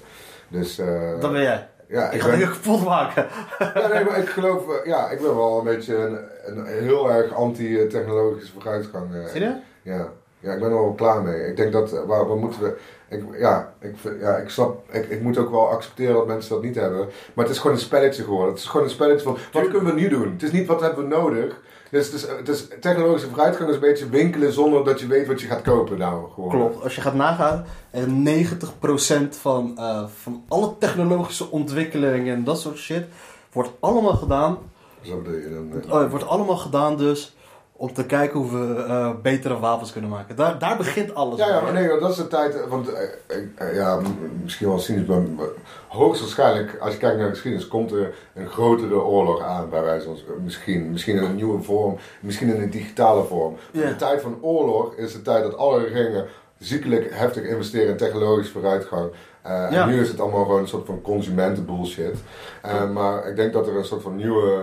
Speaker 3: Dus... eh,
Speaker 4: Dat ben jij.
Speaker 3: ja,
Speaker 4: Ik ga
Speaker 3: ben-
Speaker 4: dingen kapot maken.
Speaker 3: ja, nee, maar ik geloof, eh, ja, ik ben wel een beetje een, een heel erg anti-technologische vooruitgang. eh.
Speaker 4: Zie je?
Speaker 3: Ja. ja, ik ben er wel klaar mee. Ik denk dat, eh, waar, waar moeten we, ik, ja, ik, vind- ja, ik snap, ik, ik moet ook wel accepteren dat mensen dat niet hebben. Maar het is gewoon een spelletje geworden. Het is gewoon een spelletje van, wat kunnen we nu doen? Het is niet, wat hebben we nodig? Dus, dus, eh, dus technologische vooruitgang is een beetje winkelen zonder dat je weet wat je gaat kopen nou gewoon.
Speaker 4: Klopt, als je gaat nagaan, eh, 90% van, eh, van alle technologische ontwikkelingen en dat soort shit wordt allemaal gedaan.
Speaker 3: Zo bedoel je dan, eh.
Speaker 4: oh, wordt allemaal gedaan dus om te kijken hoe we eh, betere wapens kunnen maken. Daar, daar begint alles
Speaker 3: Ja, ja,
Speaker 4: mee.
Speaker 3: maar nee, want dat is de tijd. eh, Want eh, ik- eh, ja, m- misschien wel cynisch, maar maar hoogstwaarschijnlijk, als je kijkt naar de geschiedenis, komt er een grotere oorlog aan bij wijze van spreken. misschien. Misschien in een nieuwe vorm, misschien in een digitale vorm.
Speaker 4: Ja.
Speaker 3: De tijd van oorlog is de tijd dat alle regeringen ziekelijk heftig investeren in technologische vooruitgang. Eh,
Speaker 4: Ja.
Speaker 3: En nu is het allemaal gewoon een soort van consumentenbullshit. Eh, maar ik denk dat er een soort van nieuwe.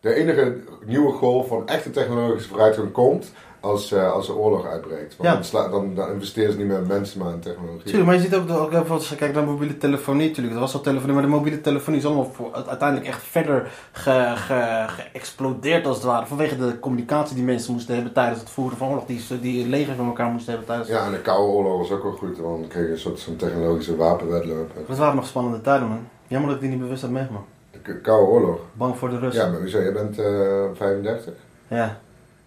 Speaker 3: De enige nieuwe golf van echte technologische vooruitgang komt als, eh, als er oorlog uitbreekt. Want
Speaker 4: Ja.
Speaker 3: dan, sla- dan, dan investeren ze niet meer in mensen, maar in technologie.
Speaker 4: Tuurlijk, maar je ziet ook, dat- ook even als je kijkt naar mobiele telefonie, natuurlijk, dat was al telefonie, maar de mobiele telefonie is allemaal voor, uiteindelijk echt verder ge- ge- geëxplodeerd als het ware. Vanwege de communicatie die mensen moesten hebben tijdens het voeren van oorlog, die, ze- die legers van elkaar moesten hebben tijdens.
Speaker 3: Ja, en de Koude Oorlog was ook wel goed, want dan kreeg je een soort van technologische wapenwedloop.
Speaker 4: Dat waren nog spannende tijden, man. Jammer dat ik die niet bewust had meegemaakt.
Speaker 3: De K- Koude Oorlog.
Speaker 4: Bang voor de rust.
Speaker 3: Ja, maar hoezo? Jij bent eh 35?
Speaker 4: Ja.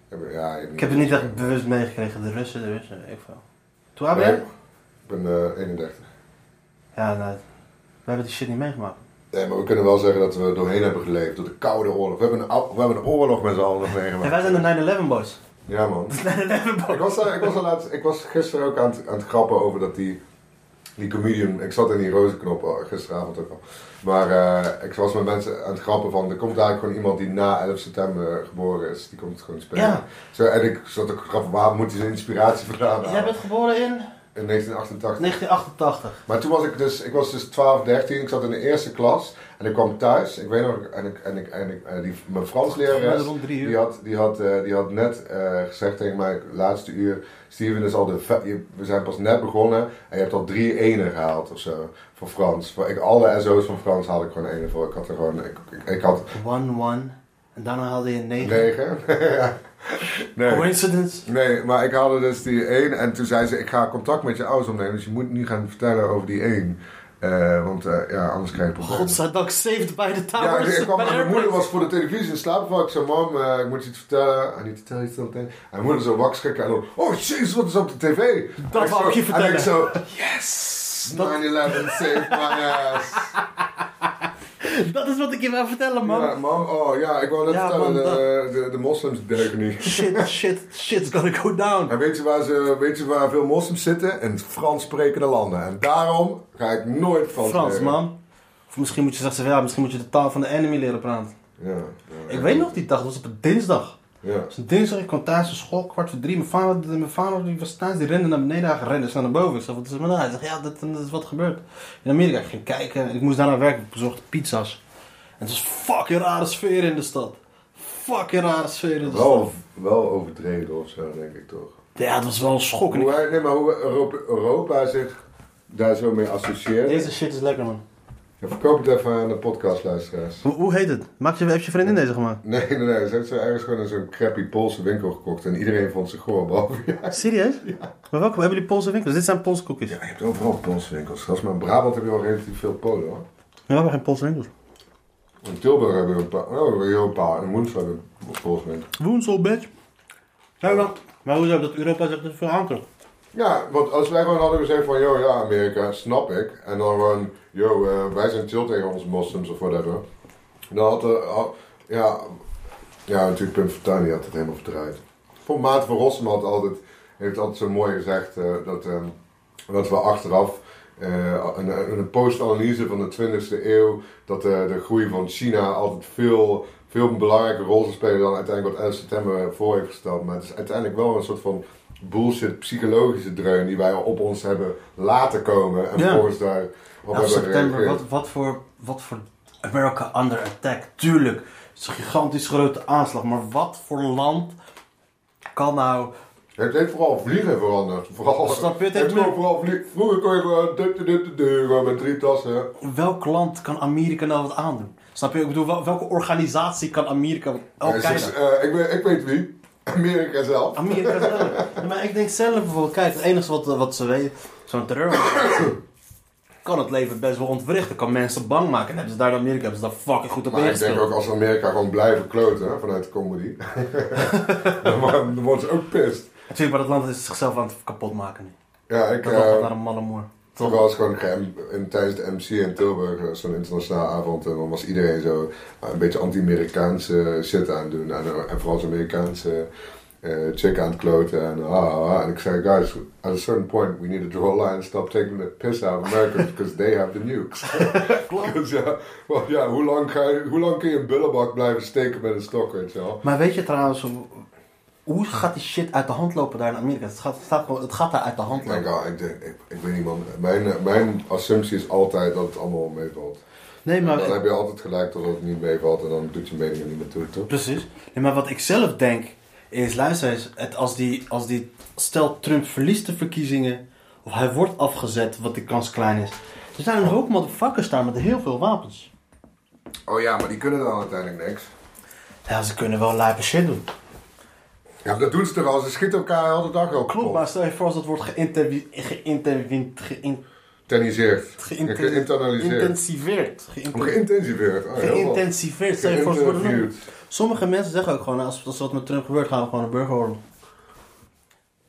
Speaker 3: Ja, maar- Ja, je hebt
Speaker 4: Ik heb het niet echt Ah, bewust meegekregen. De Russen, de Russen, ik veel. Toen hebben
Speaker 3: Nee,
Speaker 4: jij?
Speaker 3: ik ben eh, 31.
Speaker 4: Ja, nou, we hebben die shit niet meegemaakt.
Speaker 3: Nee, maar we kunnen wel zeggen dat we er doorheen hebben geleefd, door de Koude Oorlog. We hebben een, ou- we hebben een oorlog met z'n allen nog
Speaker 4: En
Speaker 3: meegemaakt.
Speaker 4: wij zijn de 9-11 boys.
Speaker 3: Ja, man.
Speaker 4: De 9-11
Speaker 3: Ik was, daar- ik was, al laatst, ik was gisteren ook aan het, aan het grappen over dat die die comedian, ik zat in die rozenknop eh, gisteravond ook al. Maar eh, ik was met mensen aan het grappen van, er komt eigenlijk gewoon iemand die na 11 september geboren is, die komt gewoon spelen.
Speaker 4: Ja.
Speaker 3: Zo, en ik zat ook te grappen, waar moet hij zijn inspiratie vandaan halen?
Speaker 4: Dus Jij bent geboren in
Speaker 3: In 1988.
Speaker 4: 1988.
Speaker 3: Maar toen was ik dus, ik was dus 12, 13, ik zat in de eerste klas en ik kwam thuis. Ik weet nog, en ik, en ik, en ik, en die, mijn Frans
Speaker 4: Ja,
Speaker 3: lerares,
Speaker 4: rond drie uur.
Speaker 3: die had, die had, eh, die had net eh, gezegd tegen mij, laatste uur, Steven is al de, ve- je- we zijn pas net begonnen en je hebt al drie enen gehaald of zo, voor Frans. Voor, ik, alle SO's van Frans had ik gewoon enen voor, ik had er gewoon, ik, ik, ik had
Speaker 4: 1-1. En daarna haalde je 9.
Speaker 3: negen. nee.
Speaker 4: Coincidence.
Speaker 3: Nee, maar ik haalde dus die één en toen zei ze, ik ga contact met je ouders opnemen, dus je moet nu gaan vertellen over die één. Eh, want eh, ja, anders krijg je problemen.
Speaker 4: Godzijdank, saved by the
Speaker 3: Ja,
Speaker 4: towers.
Speaker 3: ik kwam,
Speaker 4: Bij
Speaker 3: en mijn
Speaker 4: Airplane.
Speaker 3: moeder was voor de televisie in slaap. Ik zei, mam, eh, ik moet je iets vertellen. I need to tell you something. En mijn moeder zo wakker schrikken en dan, oh jezus, wat is op de tv?
Speaker 4: Dat
Speaker 3: En
Speaker 4: wou
Speaker 3: zo-
Speaker 4: ik je vertellen.
Speaker 3: En ik zo, yes, 9-11 saved my ass.
Speaker 4: Dat is wat ik je wil vertellen, man.
Speaker 3: Ja, mam, oh ja, ik wou net
Speaker 4: Ja,
Speaker 3: vertellen,
Speaker 4: mam,
Speaker 3: de, de, de moslims deuken nu.
Speaker 4: Shit, shit, shit's gonna go down.
Speaker 3: En weet je, waar ze, weet je waar veel moslims zitten? In Frans sprekende landen. En daarom ga ik nooit Frans
Speaker 4: Frans,
Speaker 3: leren.
Speaker 4: man. Of misschien moet je zeggen, ja, misschien moet je de taal van de enemy leren praten.
Speaker 3: Ja, ja,
Speaker 4: Ik weet nog die dag, dat was op een dinsdag.
Speaker 3: Ja.
Speaker 4: Dus een dinsdag, ik kwam thuis van school, kwart voor drie. Mijn vader, mijn vader die was thuis, die rende naar beneden, hij rende snel naar boven. Ik zei, wat is er met haar? Hij zegt, ja, dat, dat is wat gebeurd. In Amerika, ik ging kijken, ik moest daarna werken, ik bezorgde pizza's. En het was fucking rare sfeer in de stad. Fucking rare sfeer in de stad.
Speaker 3: Wel, wel overdreven of zo, denk ik toch.
Speaker 4: Ja, het was wel een schok. En
Speaker 3: Hoe
Speaker 4: ik-
Speaker 3: wij- nee, maar hoe Europa, Europa zich daar zo mee associeert.
Speaker 4: Deze shit is lekker, man.
Speaker 3: Ja, verkoop het even aan de podcastluisteraars.
Speaker 4: Hoe, hoe heet het? Maak je, heb je vriendin deze gemaakt?
Speaker 3: Nee, nee, nee. Ze heeft zo ergens gewoon in zo'n crappy Poolse winkel gekocht. En iedereen vond ze goor, behalve jij.
Speaker 4: Serieus? Maar welke? Hebben jullie Poolse winkels? Dit zijn Poolse koekjes.
Speaker 3: Ja, je hebt overal Poolse winkels. Zelfs maar in Brabant heb je al relatief veel Polen, hoor.
Speaker 4: We hebben geen Poolse winkels.
Speaker 3: In Tilburg hebben we een paar. Oh, we hebben heel een paar. In Woensdag hebben we een Poolse winkel.
Speaker 4: Woensel, bitch. Ja, maar, maar hoezo dat Europa zich dus veel aantrekt?
Speaker 3: Ja, want als wij gewoon hadden gezegd van, yo, ja, Amerika, snap ik. En dan gewoon, yo, eh, wij zijn chill tegen onze moslims of whatever. Dan had er, al- ja, ja, natuurlijk Pim Fortuyn die had het helemaal verdraaid. Voor Maarten van Rossum had altijd, heeft altijd zo mooi gezegd eh, dat, ehm, dat we achteraf, eh, een, een post-analyse van de 20e eeuw, dat eh, de groei van China altijd veel, veel belangrijke rol zal spelen dan uiteindelijk wat 11 september voor heeft gesteld. Maar het is uiteindelijk wel een soort van bullshit psychologische dreun die wij op ons hebben laten komen en
Speaker 4: Ja.
Speaker 3: vervolgens daar op
Speaker 4: 11
Speaker 3: hebben
Speaker 4: september,
Speaker 3: gereageerd.
Speaker 4: wat, wat, voor, wat voor America under attack? Tuurlijk, het is een gigantisch grote aanslag. Maar wat voor land kan nou...
Speaker 3: Het heeft vooral vliegen veranderd. Vooral,
Speaker 4: Snap je? Het
Speaker 3: Het
Speaker 4: heeft
Speaker 3: heeft
Speaker 4: meer-
Speaker 3: vooral vliegen. Vroeger kon je gewoon dit, dit, dit, dit, gewoon met drie tassen.
Speaker 4: Welk land kan Amerika nou wat aandoen? Snap je? Ik bedoel, wel- welke organisatie kan Amerika... Oh,
Speaker 3: Eh,
Speaker 4: kijk.
Speaker 3: dus, eh, ik, weet, ik weet wie. Amerika zelf.
Speaker 4: Amerika zelf. Nee, maar ik denk zelf bijvoorbeeld, kijk, het enige wat, wat ze weten, zo'n terreurorganisatie kan het leven best wel ontwrichten, kan mensen bang maken. En hebben ze daar in Amerika, hebben ze daar fucking goed op
Speaker 3: Maar ik denk
Speaker 4: ingespeeld.
Speaker 3: ook als Amerika gewoon blijven kloten hè, vanuit de comedy. dan worden dan worden ze ook pist.
Speaker 4: Natuurlijk, maar dat land is zichzelf aan het kapotmaken nu.
Speaker 3: Ja, ik.
Speaker 4: Dat land gaat
Speaker 3: eh
Speaker 4: naar een malle moer.
Speaker 3: Toch was gewoon een geheim- en tijdens de MC in Tilburg, eh, zo'n internationale avond, en dan was iedereen zo eh, een beetje anti-Amerikaanse shit aan het doen. En, eh, en vooral zo'n Amerikaanse eh, chick aan het kloten. En, ah, ah, ah. en ik zei, guys, at a certain point we need to draw a line and stop taking the piss out of Americans because they have the nukes. Klopt. ja, well, ja, hoe lang ga je- hoe lang kun je een bullenbak blijven steken met een stok, weet je wel?
Speaker 4: Maar weet je trouwens, hoe- hoe gaat die shit uit de hand lopen daar in Amerika? Het gaat, het staat gewoon- het gaat daar uit de hand
Speaker 3: Mijn
Speaker 4: lopen.
Speaker 3: god, ik, denk, ik, ik weet niet man, mijn, eh, mijn assumptie is altijd dat het allemaal meevalt.
Speaker 4: Nee, maar...
Speaker 3: Dan heb je altijd gelijk dat het niet meevalt en dan doet je mening er niet meer toe, toch?
Speaker 4: Precies. Nee, maar wat ik zelf denk is, luister eens, het, als, die, als die, stel Trump verliest de verkiezingen, of hij wordt afgezet, wat die kans klein is. Er zijn een hoop motherfuckers daar met heel veel wapens.
Speaker 3: Oh ja, maar die kunnen dan uiteindelijk niks.
Speaker 4: Ja, ze kunnen wel lijpe shit doen.
Speaker 3: Ja, maar dat doen ze toch al. Ze schieten elkaar elke dag al
Speaker 4: Klopt,
Speaker 3: kapot.
Speaker 4: maar stel je voor als dat wordt geïntervi- geïntervin- geïn-
Speaker 3: Tenniseerd.
Speaker 4: geïnten-
Speaker 3: Geïnternaliseerd.
Speaker 4: geïntensiveerd. Geïnten-
Speaker 3: Om Geïntensiveerd. Oh, heel wat.
Speaker 4: Geïntensiveerd, stel je voor, ze worden
Speaker 3: Geïnterviewd.
Speaker 4: noemen. Sommige mensen zeggen ook gewoon, als, als wat met Trump gebeurt, gaan we gewoon een burgeroorlog.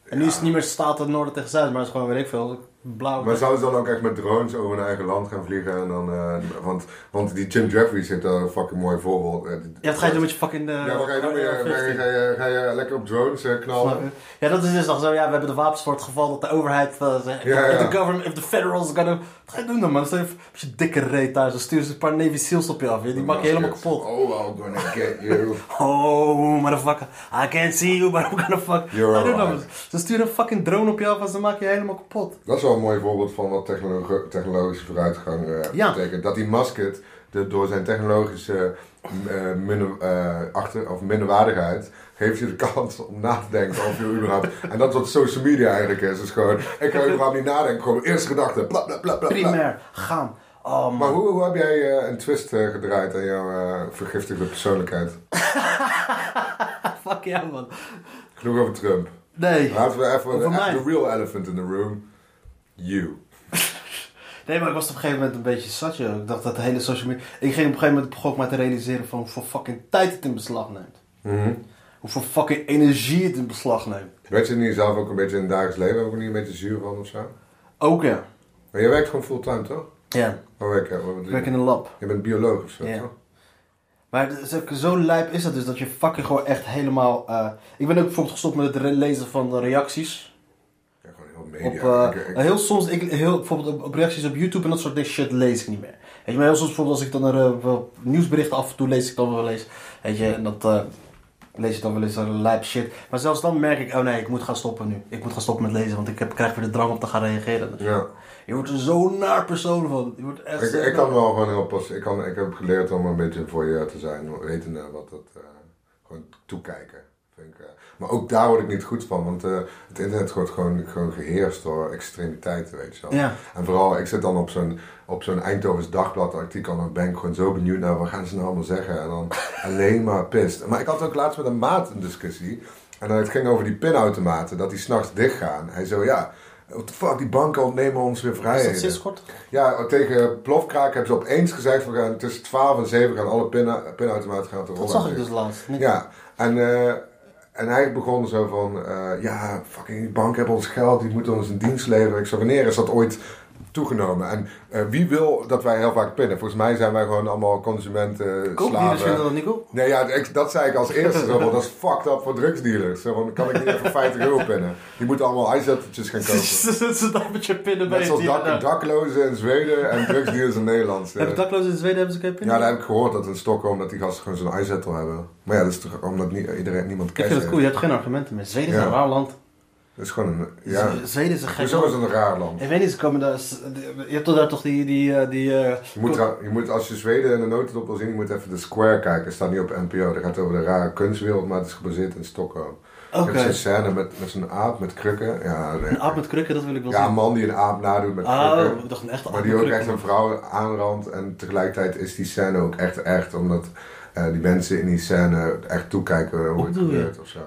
Speaker 4: En nu is het niet meer staat het noorden tegen zuid, maar het is gewoon, weet ik veel, blauw.
Speaker 3: Maar zouden ze dan ook echt met drones over hun eigen land gaan vliegen? En dan, eh, want, want die Jim Jeffries heeft daar een fucking mooi voorbeeld. eh, die-
Speaker 4: Ja, wat ga je doen met je fucking... eh,
Speaker 3: Ja, wat ga je doen? Ga je, ga je, ga je, ga je lekker op drones eh,
Speaker 4: Snap
Speaker 3: knallen?
Speaker 4: je? Ja, dat is dus nog zo. Ja, we hebben de wapens voor het geval dat de overheid eh, zegt...
Speaker 3: Ja, ja.
Speaker 4: If the government, if the federals gonna... Wat ga je doen dan, man? Stel je voor, als je dikke reet thuis, dan sturen ze een paar Navy Seals op je af. ja. Die maken je helemaal kapot.
Speaker 3: Oh, I'm gonna get you.
Speaker 4: Oh, motherfucker. I can't see you, but I'm gonna fuck...
Speaker 3: You're
Speaker 4: I don't
Speaker 3: alright.
Speaker 4: know. Ze sturen een fucking drone op je af en ze maken je helemaal kapot.
Speaker 3: Dat is wel een mooi voorbeeld van wat technolo- technologische vooruitgang eh,
Speaker 4: Ja.
Speaker 3: betekent. Dat die Musket de- door zijn technologische eh, minder, eh, achter, of minderwaardigheid geeft je de kans om na te denken over je überhaupt. En dat is wat social media eigenlijk is. Dus gewoon, ik ga überhaupt niet nadenken. Gewoon eerste gedachte. Bla, bla, bla, bla, bla.
Speaker 4: Primair. Gaan. Oh, man.
Speaker 3: Maar hoe, hoe heb jij eh, een twist eh, gedraaid aan jouw eh, vergiftigde persoonlijkheid?
Speaker 4: Fuck ja, man.
Speaker 3: Genoeg over Trump.
Speaker 4: Nee.
Speaker 3: Laten we even
Speaker 4: Over mij.
Speaker 3: de real elephant in the room. You.
Speaker 4: Nee, maar ik was op een gegeven moment een beetje zat, joh. Ik dacht dat de hele social media... Ik ging op een gegeven moment begon ik maar te realiseren van hoeveel fucking tijd het in beslag neemt. Hoeveel fucking energie het in beslag neemt.
Speaker 3: Werd je er niet zelf ook een beetje in het dagelijks leven ook niet een beetje zuur van of zo?
Speaker 4: Ook ja.
Speaker 3: Maar je werkt gewoon fulltime, toch? Oh,
Speaker 4: Ja.
Speaker 3: Waar werk jij? Wat
Speaker 4: Ik
Speaker 3: bedoel
Speaker 4: werk
Speaker 3: je?
Speaker 4: in een lab.
Speaker 3: Je bent bioloog of zo,
Speaker 4: Ja.
Speaker 3: toch?
Speaker 4: Maar het is ook zo lijp is dat dus dat je fucking gewoon echt helemaal... eh, Ik ben ook bijvoorbeeld gestopt met het re- lezen van de reacties.
Speaker 3: Ja, gewoon heel
Speaker 4: Op,
Speaker 3: media.
Speaker 4: eh,
Speaker 3: Ik- ik-
Speaker 4: heel soms, ik, heel, bijvoorbeeld op, op reacties op YouTube en dat soort dingen, shit lees ik niet meer. Weet je, maar heel soms bijvoorbeeld als ik dan er, eh, wel nieuwsberichten af en toe lees, ik dan wel eens. Weet je, en dat eh, lees ik dan wel eens een lijp shit. Maar zelfs dan merk ik, oh nee, ik moet gaan stoppen nu. Ik moet gaan stoppen met lezen, want ik heb, krijg weer de drang om te gaan reageren.
Speaker 3: ja.
Speaker 4: Je wordt er zo'n naar persoon van. Je wordt echt eh,
Speaker 3: Ik,
Speaker 4: zo
Speaker 3: ik
Speaker 4: naar-
Speaker 3: kan wel gewoon heel pas. Ik, kan, ik heb geleerd om een beetje voor je te zijn, wetende wat dat. eh, gewoon toekijken. Vind ik, eh. Maar ook daar word ik niet goed van, want eh, het internet wordt gewoon, gewoon geheerst door extremiteiten, weet je wel.
Speaker 4: Ja.
Speaker 3: En vooral, ik zit dan op zo'n, op zo'n Eindhovens dagblad artikel en dan ben ik gewoon zo benieuwd naar wat gaan ze nou allemaal zeggen. En dan alleen maar pist. Maar ik had ook laatst met een maat een discussie. En dan het ging over die pinautomaten, dat die s'nachts dichtgaan. Hij zo, ja, what the fuck, die banken ontnemen ons weer
Speaker 4: Is
Speaker 3: vrijheden.
Speaker 4: dat sinds kort?
Speaker 3: Ja, tegen Plofkraak hebben ze opeens gezegd: we gaan tussen 12 en 7 gaan alle pin- pinautomaten gaan te rollen.
Speaker 4: Dat zag ik dus laatst. Niet-
Speaker 3: Ja, en, eh, en hij begon zo van: eh, ja, fucking die banken hebben ons geld, die moeten ons een dienst leveren. Ik zei: wanneer is dat ooit toegenomen? En eh, wie wil dat wij heel vaak pinnen? Volgens mij zijn wij gewoon allemaal consumenten,
Speaker 4: Koopdealers vinden
Speaker 3: slaven.
Speaker 4: dat niet cool.
Speaker 3: Nee, ja, ik- dat zei ik als eerste. Zo, van, dat is fucked up voor drugsdealers. Zo, van, kan ik niet even 50 euro pinnen? Die moeten allemaal ijzettertjes gaan kopen.
Speaker 4: Ze zitten daar met je pinnen bij eh,
Speaker 3: Net
Speaker 4: je
Speaker 3: zoals
Speaker 4: dier.
Speaker 3: dak- daklozen in Zweden en drugsdealers in Nederland.
Speaker 4: Hebben daklozen in Zweden hebben ze geen pinnen?
Speaker 3: Ja, daar heb ik gehoord dat in Stockholm dat die gasten gewoon zo'n iZettel hebben. Maar ja, dat is toch omdat niet, iedereen, niemand
Speaker 4: Ik
Speaker 3: cash
Speaker 4: vind het
Speaker 3: heeft.
Speaker 4: cool, je hebt geen argumenten meer. Zweden is
Speaker 3: Ja.
Speaker 4: een raar land.
Speaker 3: Dat is gewoon een... Ja,
Speaker 4: Z- Zweden is een gek
Speaker 3: hoezo
Speaker 4: land.
Speaker 3: is dat een raar land?
Speaker 4: Ik weet niet, ze komen daar. Je hebt toch daar toch die. die, eh, die eh,
Speaker 3: Je moet, ra- je moet, als je Zweden in de notendop wil zien, je moet even de Square kijken. Het staat niet op NPO. Dat gaat over de rare kunstwereld, maar het is gebaseerd in Stockholm.
Speaker 4: Oké.
Speaker 3: Je hebt zo'n scène met, met zo'n aap met krukken. Ja,
Speaker 4: Een aap met krukken, dat wil ik wel
Speaker 3: ja, een
Speaker 4: zien.
Speaker 3: man die een aap nadoet met
Speaker 4: Oh,
Speaker 3: krukken.
Speaker 4: ik dacht een echte aap
Speaker 3: Maar
Speaker 4: met
Speaker 3: die ook
Speaker 4: krukken.
Speaker 3: echt een vrouw aanrandt. En tegelijkertijd is die scène ook echt echt. Omdat eh, die mensen in die scène echt toekijken hoe
Speaker 4: Wat
Speaker 3: het
Speaker 4: bedoel je?
Speaker 3: gebeurt of zo.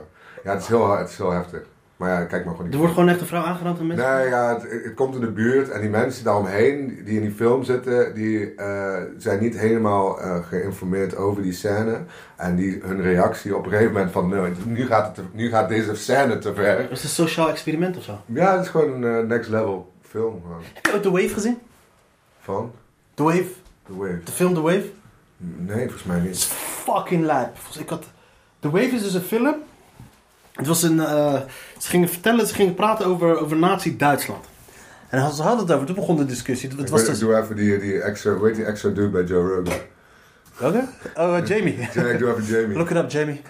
Speaker 3: Ja, het is heel, het is heel heftig. Maar ja, kijk maar gewoon
Speaker 4: Er
Speaker 3: die
Speaker 4: wordt gewoon echt een vrouw aangerand en mensen.
Speaker 3: Nee, ja, het, het komt in de buurt en die mensen daaromheen die in die film zitten, die eh, zijn niet helemaal eh, geïnformeerd over die scène. En die, hun reactie op een gegeven moment van, nee, nu, gaat het, te- nu gaat deze scène te ver.
Speaker 4: Is het een sociaal experiment of zo?
Speaker 3: Ja, het is gewoon een eh, next level film gewoon.
Speaker 4: Heb je ook The Wave gezien?
Speaker 3: van
Speaker 4: The Wave?
Speaker 3: The Wave.
Speaker 4: De film The Wave?
Speaker 3: Nee, volgens mij
Speaker 4: is
Speaker 3: niet.
Speaker 4: fucking lijp. Volgens- Ik had... The Wave is dus een film. Het was een... eh, ze gingen vertellen, ze gingen praten over, over nazi-Duitsland. En ze hadden het over, toen begon de discussie. Het
Speaker 3: Ik,
Speaker 4: was
Speaker 3: weet-
Speaker 4: dus...
Speaker 3: ik doe even die, die extra, hoe heet die extra dude bij Joe Rogan?
Speaker 4: Welke? Oh, eh, Jamie.
Speaker 3: Ja, ik doe even Jamie.
Speaker 4: Look it up, Jamie.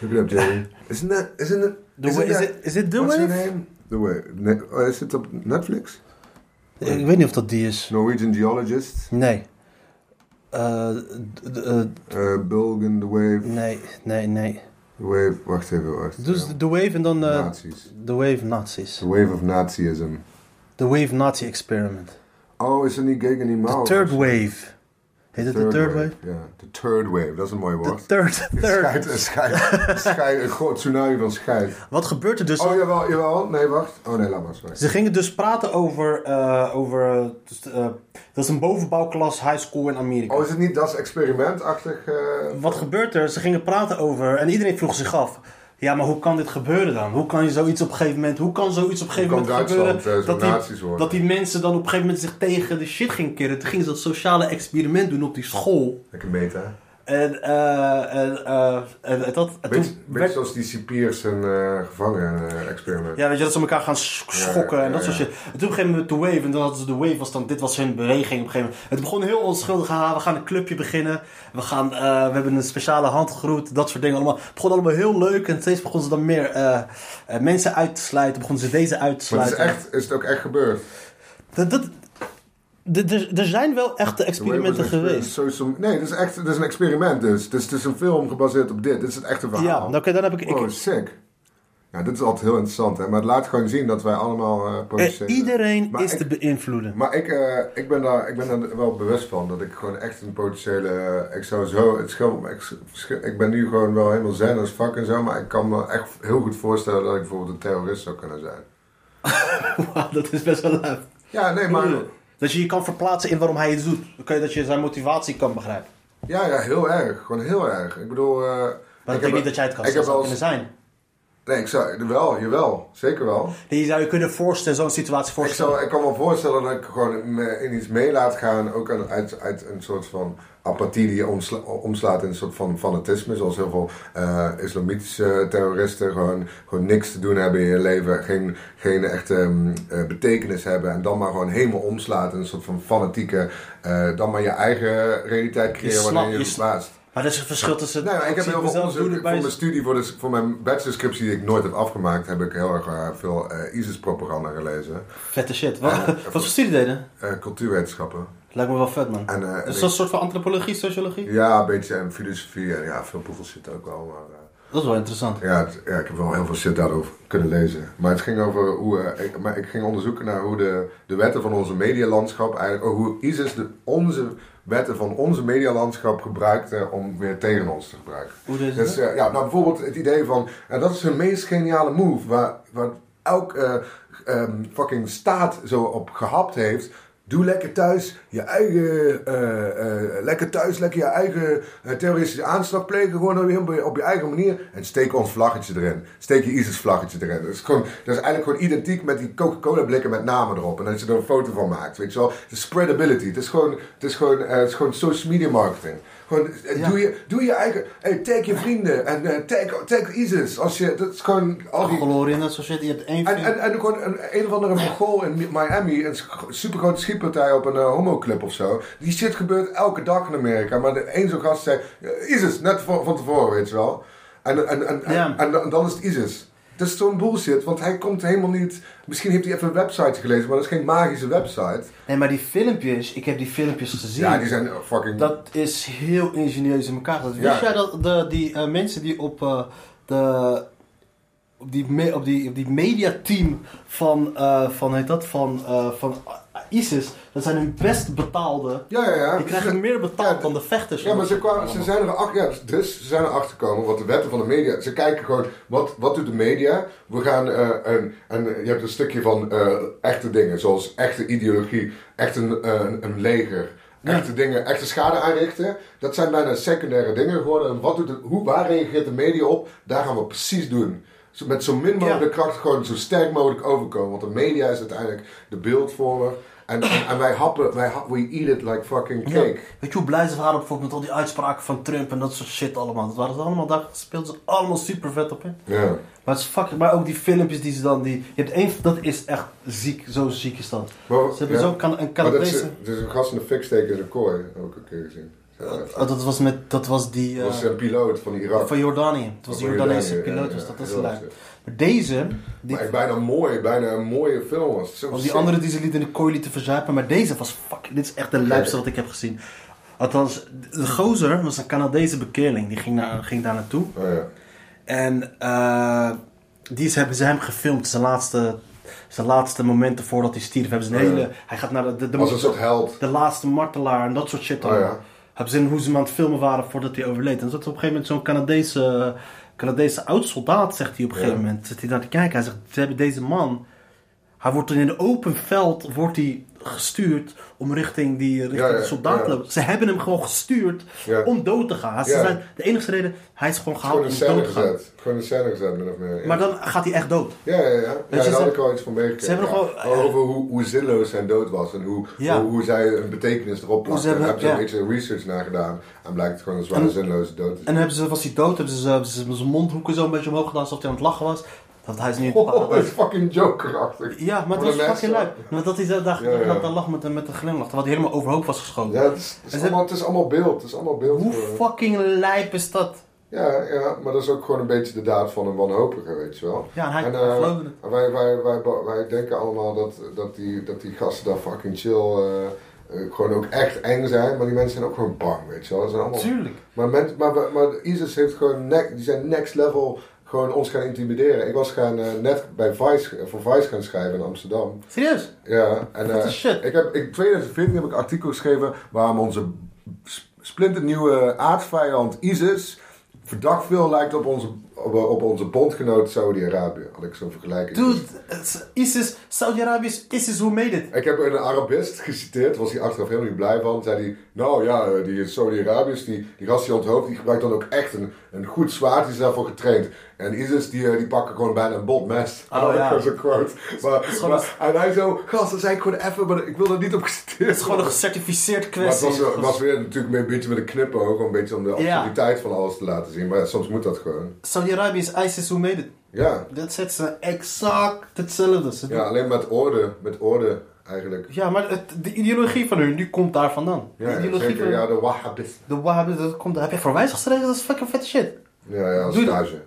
Speaker 3: Look it up, Jamie. Isn't that, isn't it,
Speaker 4: The
Speaker 3: isn't
Speaker 4: Wa- is,
Speaker 3: that-
Speaker 4: it, is it The
Speaker 3: what's her
Speaker 4: Wave?
Speaker 3: name? The Wave. Nee, oh, is het op Netflix? nou?
Speaker 4: Ik weet niet of dat die is.
Speaker 3: Norwegian Geologist,
Speaker 4: Nee. Eh, d- d- eh,
Speaker 3: eh, Bulgan, The Wave,
Speaker 4: nee, nee, nee.
Speaker 3: The Wave, wacht even, wacht.
Speaker 4: Dus
Speaker 3: Ja,
Speaker 4: The Wave en dan... eh
Speaker 3: Nazis.
Speaker 4: The Wave Nazis.
Speaker 3: The Wave of Nazism.
Speaker 4: The Wave Nazi Experiment.
Speaker 3: Oh, is er niet Gegen die
Speaker 4: The
Speaker 3: Mauer?
Speaker 4: Third Wave. Heet het de Third Wave?
Speaker 3: Ja, The Third Wave, dat is een mooi
Speaker 4: De
Speaker 3: woord.
Speaker 4: Third,
Speaker 3: Scheid,
Speaker 4: third.
Speaker 3: een scheid, een scheid, een groot tsunami van scheid.
Speaker 4: Wat gebeurt er dus?
Speaker 3: Oh, jawel, jawel, nee, wacht. Oh, nee, laat maar, sorry.
Speaker 4: Ze gingen dus praten over... eh, over eh, dus, eh, dat is een bovenbouwklas high school in Amerika.
Speaker 3: Oh, is het niet dat is experimentachtig? eh
Speaker 4: Wat gebeurt er? Ze gingen praten over... En iedereen vroeg zich af... Ja, maar hoe kan dit gebeuren dan? Hoe kan je zoiets op een gegeven moment... Hoe kan zoiets op een gegeven
Speaker 3: kan
Speaker 4: moment
Speaker 3: Duitsland,
Speaker 4: gebeuren...
Speaker 3: eh, zo'n
Speaker 4: dat, die,
Speaker 3: nazi's worden?
Speaker 4: dat die mensen dan op een gegeven moment zich tegen de shit gingen keren. Toen gingen ze dat sociale experiment doen op die school.
Speaker 3: Lekker meta.
Speaker 4: En, eh en, eh, en, en dat... En
Speaker 3: Beetje,
Speaker 4: toen
Speaker 3: beetje
Speaker 4: werd-
Speaker 3: zoals die cipiers en eh gevangen-experiment.
Speaker 4: Ja, weet je, dat ze elkaar gaan sch- schokken en dat
Speaker 3: ja,
Speaker 4: soort
Speaker 3: ja.
Speaker 4: shit. En toen op een gegeven moment de wave, en dan hadden ze de wave, was dan, dit was hun beweging op een gegeven moment. Het begon heel onschuldig, haha, we gaan een clubje beginnen, we, gaan, eh, we hebben een speciale handgroet, dat soort dingen allemaal. Het begon allemaal heel leuk en steeds begonnen ze dan meer eh, eh, mensen uit te sluiten, begonnen ze deze uit te
Speaker 3: maar het is,
Speaker 4: sluiten.
Speaker 3: echt, is het ook echt gebeurd?
Speaker 4: Dat, dat, d- d- er zijn wel echte experimenten geweest.
Speaker 3: Social, nee, dit is echt dit is een experiment dus. Het is, het is een film gebaseerd op dit. Dit is het echte verhaal.
Speaker 4: Ja, nou, oké, dan heb ik... ik
Speaker 3: Wow, sick. Ja, dit is altijd heel interessant, hè? Maar het laat gewoon zien dat wij allemaal eh
Speaker 4: eh,
Speaker 3: produceren.
Speaker 4: iedereen
Speaker 3: Maar
Speaker 4: is
Speaker 3: ik-
Speaker 4: te beïnvloeden.
Speaker 3: Maar ik, eh, ik, ben daar, ik ben daar wel bewust van dat ik gewoon echt een potentiële. eh, ik zou zo. Het schil, ik, verschil- ik ben nu gewoon wel helemaal zen als fuck en zo, maar ik kan me echt heel goed voorstellen dat ik bijvoorbeeld een terrorist zou kunnen zijn.
Speaker 4: Wauw, dat is best wel leuk.
Speaker 3: Ja, nee, maar.
Speaker 4: Dat je je kan verplaatsen in waarom hij het doet. Dan kun je dat je zijn motivatie kan begrijpen.
Speaker 3: Ja, ja, heel erg. Gewoon heel erg. Ik bedoel. eh,
Speaker 4: Maar
Speaker 3: ik
Speaker 4: dat betekent
Speaker 3: heb-
Speaker 4: niet dat jij het kan
Speaker 3: ik heb
Speaker 4: zelfs
Speaker 3: wel eens-
Speaker 4: kunnen zijn.
Speaker 3: Nee, ik zou. Wel, jawel. Zeker wel.
Speaker 4: Die zou je kunnen voorstellen, zo'n situatie
Speaker 3: Ik,
Speaker 4: voorstellen.
Speaker 3: zou, ik kan me voorstellen dat ik gewoon me in iets mee laat gaan, ook aan- uit, uit een soort van apathie die omsla- omslaat in een soort van fanatisme, zoals heel veel eh, islamitische terroristen gewoon, gewoon niks te doen hebben in je leven, geen, geen echte mm, eh, betekenis hebben en dan maar gewoon helemaal omslaat in een soort van fanatieke, eh, dan maar je eigen realiteit creëren
Speaker 4: slaat-
Speaker 3: wanneer je
Speaker 4: je
Speaker 3: je
Speaker 4: sla-
Speaker 3: verbaast.
Speaker 4: Maar dat is het verschil tussen...
Speaker 3: Nou, ja, ik heb heel
Speaker 4: zie
Speaker 3: veel
Speaker 4: mezelf
Speaker 3: onderzoek
Speaker 4: doen
Speaker 3: voor
Speaker 4: bij-
Speaker 3: mijn studie, voor, de, voor mijn bachelorscriptie die ik nooit heb afgemaakt, heb ik heel erg eh, veel eh, ISIS-propaganda gelezen.
Speaker 4: Vette shit. Wat,
Speaker 3: Ja,
Speaker 4: wat voor studie deden?
Speaker 3: Eh, cultuurwetenschappen.
Speaker 4: Lijkt me wel vet, man.
Speaker 3: En, eh, en
Speaker 4: dat is
Speaker 3: ik-
Speaker 4: dat een soort van antropologie, sociologie?
Speaker 3: Ja, een beetje en filosofie en ja, veel poefel zit ook al. Maar, eh,
Speaker 4: Dat is wel interessant.
Speaker 3: ja, het- ja, ik heb wel heel veel shit daarover kunnen lezen. Maar het ging over hoe. eh, ik, maar ik ging onderzoeken naar hoe de, de wetten van onze medialandschap eigenlijk. oh, hoe ISIS de, onze wetten van onze medialandschap gebruikte om weer tegen ons te gebruiken.
Speaker 4: Hoe deden ze
Speaker 3: Dus, eh, ja, nou bijvoorbeeld het idee van. en dat is hun meest geniale move. Waar, waar elk eh, ehm, fucking staat zo op gehapt heeft. Doe lekker thuis je eigen. eh, eh, lekker thuis, lekker je eigen eh, terroristische aanslag plegen. Gewoon op je, op je eigen manier. En steek ons vlaggetje erin. Steek je ISIS-vlaggetje erin. Dat is, gewoon, dat is eigenlijk gewoon identiek met die Coca-Cola-blikken met namen erop. En dat je er een foto van maakt. Weet je wel? De spreadability. Het is gewoon, het is gewoon, eh, het is gewoon social media marketing. Gewoon, eh, doe, je, doe je eigen. Hey, tag je vrienden. En eh, tag, tag ISIS. Als je, dat is gewoon. Al die,
Speaker 4: Glorie en dat soort shit. Je hebt één...
Speaker 3: en,
Speaker 4: film-
Speaker 3: en, en gewoon een, een of andere Mongool in Miami, een supergrote schietpartij op een homo homoclub of zo. Die shit gebeurt elke dag in Amerika. Maar de één zo'n gast zei, "Ja, ISIS, net voor- van tevoren, weet je wel. En, en, en, en,
Speaker 4: Ja.
Speaker 3: en, dan- dan is het ISIS. Dat is zo'n bullshit, want hij komt helemaal niet... Misschien heeft hij even een website gelezen, maar dat is geen magische website.
Speaker 4: Nee, maar die filmpjes... Ik heb die filmpjes gezien.
Speaker 3: Ja, die zijn fucking...
Speaker 4: Dat is heel ingenieus in elkaar. gezet. Wist
Speaker 3: Ja.
Speaker 4: jij dat de, die eh, mensen die op eh, de op die, me- op die, op die mediateam van, eh, van, heet dat, van, eh, van ISIS, dat zijn hun best betaalde.
Speaker 3: Ja, ja, ja.
Speaker 4: Die krijgen meer betaald
Speaker 3: Ja,
Speaker 4: dan de vechters.
Speaker 3: Ja, maar ze, kwamen, ze zijn er achter, ja, dus ze zijn erachter gekomen wat de wetten van de media. Ze kijken gewoon wat, wat doet de media. We gaan eh, een, een, je hebt een stukje van eh, echte dingen, zoals echte ideologie, echt een, eh, een, een leger, echte dingen, echte schade aanrichten. Dat zijn bijna secundaire dingen geworden. En wat doet de, hoe, waar reageert de media op? Daar gaan we precies doen. Zo- Met zo min mogelijk
Speaker 4: Ja.
Speaker 3: kracht gewoon zo sterk mogelijk overkomen. Want de media is uiteindelijk de beeldvormer. En, en, en wij happen, wij hap- we eat it like fucking
Speaker 4: Ja.
Speaker 3: cake.
Speaker 4: Weet je hoe blij ze waren bijvoorbeeld met al die uitspraken van Trump en dat soort shit allemaal. Dat waren ze allemaal, daar speelden ze allemaal super vet op in.
Speaker 3: Ja.
Speaker 4: Maar, het is fucking, maar ook die filmpjes die ze dan, die, je hebt één, dat is echt ziek, zo ziek is dat.
Speaker 3: Maar-
Speaker 4: ze hebben
Speaker 3: ja.
Speaker 4: zo'n kan, een
Speaker 3: Maar dat is,
Speaker 4: Canadese...
Speaker 3: dat is een gast in de fik steken in zijn kooi, heb ik een keer gezien. Ja, dat
Speaker 4: Oh, dat was met, dat was die eh,
Speaker 3: was een piloot van Irak.
Speaker 4: van Jordanië. Het was die
Speaker 3: Van
Speaker 4: Jordaanese
Speaker 3: Jordanië,
Speaker 4: piloot,
Speaker 3: ja,
Speaker 4: dus
Speaker 3: ja,
Speaker 4: dat is
Speaker 3: heel
Speaker 4: leuk.
Speaker 3: vet.
Speaker 4: Maar deze, die,
Speaker 3: maar echt bijna mooi, bijna een mooie film was. Zo
Speaker 4: was die
Speaker 3: sick.
Speaker 4: andere die ze lieten in de kooi lieten verzuipen, maar deze was fucking, dit is echt de lijpste wat ik heb gezien. Althans, de gozer was een Canadese bekeerling, die ging, naar, ging daar naartoe.
Speaker 3: Oh, ja.
Speaker 4: En eh, die is, hebben ze hem gefilmd, zijn laatste, zijn laatste momenten voordat hij stierf. Hebben ze een
Speaker 3: Ja.
Speaker 4: hele, hij gaat naar de, de, de-
Speaker 3: Als een soort held.
Speaker 4: de laatste martelaar en dat soort shit.
Speaker 3: Oh,
Speaker 4: allemaal.
Speaker 3: ja.
Speaker 4: Hebben ze in hoe ze hem aan het filmen waren voordat hij overleed. En dat op een gegeven moment zo'n Canadese, Canadese oud-soldaat, zegt hij op een
Speaker 3: Ja.
Speaker 4: gegeven moment. Zit hij daar te kijken. Hij zegt, ze hebben deze man... Hij wordt in een open veld wordt hij gestuurd om richting die richting
Speaker 3: Ja, ja,
Speaker 4: de soldatenclub. Ze hebben hem gewoon gestuurd
Speaker 3: Ja.
Speaker 4: om dood te gaan. Ze
Speaker 3: Ja.
Speaker 4: zijn, de enige reden, hij is gewoon
Speaker 3: Gewoon
Speaker 4: gehaald
Speaker 3: een
Speaker 4: om dood
Speaker 3: scène
Speaker 4: te gaan.
Speaker 3: gezet. Gewoon een scène gezet, min of meer. ja.
Speaker 4: Maar dan gaat hij echt dood.
Speaker 3: Ja, ja, ja. ja
Speaker 4: ze
Speaker 3: daar had
Speaker 4: zijn-
Speaker 3: ik al iets van meegekregen.
Speaker 4: ze hebben
Speaker 3: ja.
Speaker 4: nog wel-
Speaker 3: Maar Over hoe, hoe zinloos zijn dood was en hoe,
Speaker 4: Ja.
Speaker 3: hoe, hoe zij een betekenis erop
Speaker 4: Hoe ze
Speaker 3: plakken. Daar
Speaker 4: hebben-
Speaker 3: hebben ze een
Speaker 4: ja.
Speaker 3: beetje research naar gedaan en blijkt het gewoon een zware
Speaker 4: En-
Speaker 3: zinloze dood te
Speaker 4: En dan hebben ze, was hij dood, hebben ze, hebben ze zijn mondhoeken zo een beetje omhoog gedaan alsof hij aan het lachen was. Dat hij is nu
Speaker 3: zijn. Oh, dat is fucking jokerachtig.
Speaker 4: Ja, maar het
Speaker 3: Wat
Speaker 4: was
Speaker 3: een
Speaker 4: fucking
Speaker 3: mess,
Speaker 4: leuk. Maar dat hij daar, daar,
Speaker 3: Ja, ja.
Speaker 4: daar- daar lag met, een- met een glimlach, terwijl hij helemaal overhoop was geschoten.
Speaker 3: Ja, het is, het is,
Speaker 4: En ze-
Speaker 3: allemaal, het is allemaal beeld. Het is allemaal beeld.
Speaker 4: Hoe
Speaker 3: geworden.
Speaker 4: fucking lijp is dat?
Speaker 3: Ja, ja, maar dat is ook gewoon een beetje de daad van een wanhopige, weet je wel.
Speaker 4: Ja, en hij
Speaker 3: En, eh,
Speaker 4: geloofde het.
Speaker 3: wij, wij, wij, wij denken allemaal dat, dat, die, dat die gasten daar fucking chill eh, eh, gewoon ook echt eng zijn. Maar die mensen zijn ook gewoon bang, weet je wel. Dat zijn allemaal
Speaker 4: Tuurlijk.
Speaker 3: Maar, men- maar, maar, maar ISIS heeft gewoon ne- die zijn next level gewoon ons gaan intimideren. Ik was gaan, eh, net bij Vice, eh, voor Vice gaan schrijven in Amsterdam.
Speaker 4: Serieus?
Speaker 3: Ja, en
Speaker 4: What
Speaker 3: eh,
Speaker 4: the shit?
Speaker 3: ik heb, in 2014 heb ik een artikel geschreven waarom onze s- splinternieuwe aardvijand ISIS verdacht veel lijkt op onze, op, op onze bondgenoot Saudi-Arabië. Had ik zo'n vergelijking.
Speaker 4: Dude, het is- ISIS, Saudi-Arabië is ISIS who made it.
Speaker 3: Ik heb een Arabist geciteerd, was hij achteraf helemaal niet blij van. Zei hij, nou ja, eh, die Saudi-Arabiërs, die, die gast die onthoofd, die gebruikt dan ook echt een, een goed zwaard, die is daarvoor getraind. En ISIS, die, eh, die pakken gewoon bijna een bot mes.
Speaker 4: Oh,
Speaker 3: Dat
Speaker 4: ja.
Speaker 3: was een quote. Maar,
Speaker 4: gewoon
Speaker 3: maar- en hij zo, gast, dat zei ik gewoon even, maar ik wil er niet op geciteerd
Speaker 4: Het is gewoon een gecertificeerd
Speaker 3: Maar het
Speaker 4: kwestie.
Speaker 3: was, het was weer natuurlijk een beetje met een knipoog, een beetje om de
Speaker 4: Ja.
Speaker 3: absurditeit van alles te laten zien. Maar ja, soms moet dat gewoon.
Speaker 4: Saudi-Arabië is ISIS who made it.
Speaker 3: Ja,
Speaker 4: Dat zet ze exact hetzelfde. Ze doen-
Speaker 3: ja
Speaker 4: Ja,
Speaker 3: alleen met orde, met orde eigenlijk.
Speaker 4: maar het- de ideologie van hun, die komt daar vandaan.
Speaker 3: Ja,
Speaker 4: de
Speaker 3: ja,
Speaker 4: ideologie
Speaker 3: zeker,
Speaker 4: van
Speaker 3: ja, de wahhabisten.
Speaker 4: de Wahhabi, dat komt daar. Heb je voor wijs geschreven? Dat is fucking vette shit.
Speaker 3: Ja, ja,
Speaker 4: Doe-
Speaker 3: stage.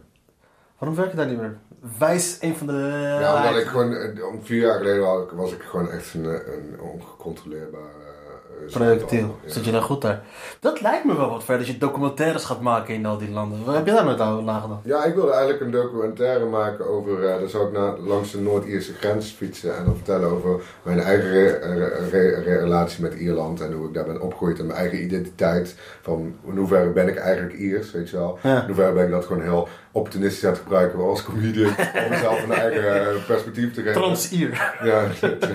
Speaker 4: Waarom werk je daar niet meer? Wijs, een van de... Ah,
Speaker 3: Ja, omdat ik gewoon, eh, om vier jaar geleden was ik, was ik gewoon echt een, eh, een ongecontroleerbaar eh, eh,
Speaker 4: Projectiel.
Speaker 3: schandaal.
Speaker 4: Zit je daar goed daar? Dat lijkt me wel wat verder als je documentaires gaat maken in al die landen. Wat heb je daar met nou nagedaan?
Speaker 3: Ja, ik wilde eigenlijk een documentaire maken over. eh dan zou ik naar, langs de Noord-Ierse grens fietsen en dan vertellen over mijn eigen re- re- re- re- relatie met Ierland en hoe ik daar ben opgegroeid en mijn eigen identiteit. Van in hoeverre ben ik eigenlijk Iers, weet je wel.
Speaker 4: Ja.
Speaker 3: In hoeverre ben ik dat gewoon heel opportunistisch aan het gebruiken als comedian om mezelf een eigen eh, perspectief te geven.
Speaker 4: Trans-Ier.
Speaker 3: Ja,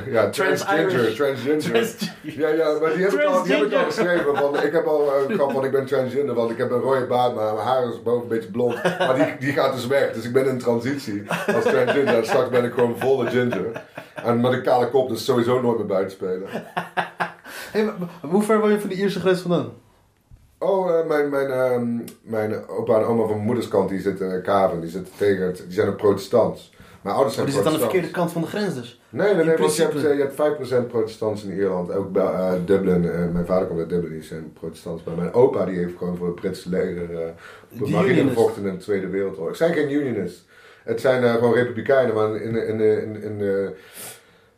Speaker 3: ja transgender,
Speaker 4: Trans-Irish.
Speaker 3: transgender.
Speaker 4: Transgender.
Speaker 3: Ja, ja, maar die heb, ik al, die heb ik al
Speaker 4: Transgender.
Speaker 3: geschreven. Want ik heb al eh, een grap van ik ben transgender, want ik heb een rode baard, maar mijn haar is boven een beetje blond. Maar die, die gaat dus weg, dus ik ben in transitie als transgender. En straks ben ik gewoon volle ginger. En met een kale kop, dus sowieso nooit meer buiten spelen.
Speaker 4: Hey, maar- maar hoe ver wil je van de Ierse grens vandaan?
Speaker 3: Oh, eh, mijn, mijn, ehm, mijn opa en oma van mijn moederskant, die zitten in Kaven, die, zitten tegen het, die zijn een protestants. Mijn ouders
Speaker 4: Oh,
Speaker 3: zijn
Speaker 4: die zit aan de
Speaker 3: protestants.
Speaker 4: verkeerde kant van de grens dus.
Speaker 3: Nee, nee,
Speaker 4: In
Speaker 3: nee want je hebt,
Speaker 4: principe.
Speaker 3: eh, je hebt 5% protestants in Ierland. Ook bij, eh, Dublin. eh, mijn vader komt uit Dublin, die is een protestant. Maar mijn opa die heeft gewoon voor het Britse leger eh, op de
Speaker 4: Die
Speaker 3: marine
Speaker 4: unionist.
Speaker 3: gevochten in de Tweede Wereldoorlog. Het zijn geen unionist. Het zijn eh, gewoon republikeinen. Maar in, in, in, in, in, eh,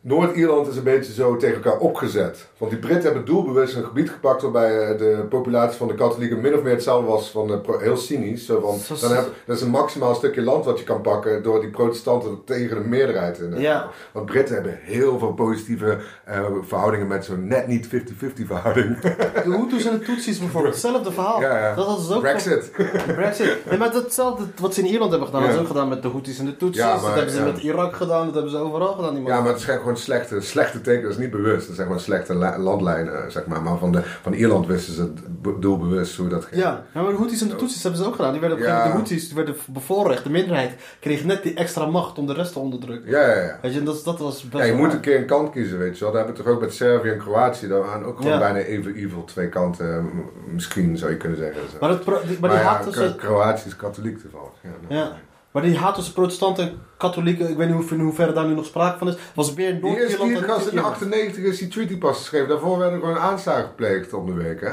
Speaker 3: Noord-Ierland is een beetje zo tegen elkaar opgezet. Want die Britten hebben doelbewust een gebied gepakt waarbij eh, de populatie van de katholieken min of meer hetzelfde was van de pro- heel cynisch. Zo van,
Speaker 4: Zo-
Speaker 3: dan heb, dat is een maximaal stukje land wat je kan pakken door die protestanten tegen de meerderheid in. eh,
Speaker 4: Ja.
Speaker 3: want Britten hebben heel veel positieve eh, verhoudingen met zo'n net niet 50-50 verhouding.
Speaker 4: De Hutus en de Tutsis bijvoorbeeld. Hetzelfde verhaal.
Speaker 3: ja, ja.
Speaker 4: Dat hadden ze ook.
Speaker 3: Brexit.
Speaker 4: Brexit. Nee, maar datzelfde wat ze in Ierland hebben gedaan,
Speaker 3: Ja.
Speaker 4: dat hebben ze ook gedaan met de Houthis en de Tutsis.
Speaker 3: Ja, maar-
Speaker 4: dat hebben ze
Speaker 3: ja.
Speaker 4: met Irak gedaan, dat hebben ze overal gedaan. Die man.
Speaker 3: Ja, maar het zijn gewoon slechte, slechte tekenen. Dat is niet bewust. Dat zijn gewoon slechte la- landlijnen, zeg maar. Maar van, de, van Ierland wisten ze het be- doelbewust hoe dat ging.
Speaker 4: Ja, ja, maar de Houthis en de Tutsis hebben ze ook gedaan. Die werden op een
Speaker 3: Ja.
Speaker 4: gegeven moment- de Houthis werden bevoorrecht. De minderheid kreeg net die extra macht om de rest te onderdrukken.
Speaker 3: Ja, ja, ja.
Speaker 4: Weet je, en dat, dat was best
Speaker 3: Ja, je
Speaker 4: wel
Speaker 3: moet
Speaker 4: raar.
Speaker 3: een keer een kant kiezen, weet je wel. Daar hebben we toch ook met Servië en Kroatië. Daar waren ook gewoon
Speaker 4: Ja.
Speaker 3: bijna even evil twee kanten, m- misschien zou je kunnen zeggen. Zo.
Speaker 4: Maar, het, pro- die- maar,
Speaker 3: Maar
Speaker 4: die
Speaker 3: ja,
Speaker 4: haat tussen...
Speaker 3: Kro- Kroatië is katholiek toevallig. Ja, nou.
Speaker 4: Ja. Maar die haat tussen protestanten en katholieken, ik weet niet hoe, in hoeverre daar nu nog sprake van is, was meer
Speaker 3: Die eerste
Speaker 4: Noord-Ierland
Speaker 3: keer
Speaker 4: dan
Speaker 3: gast in de
Speaker 4: Ierland.
Speaker 3: 98 is die treaty pas geschreven. Daarvoor werden er gewoon aanslagen gepleegd om de week, hè?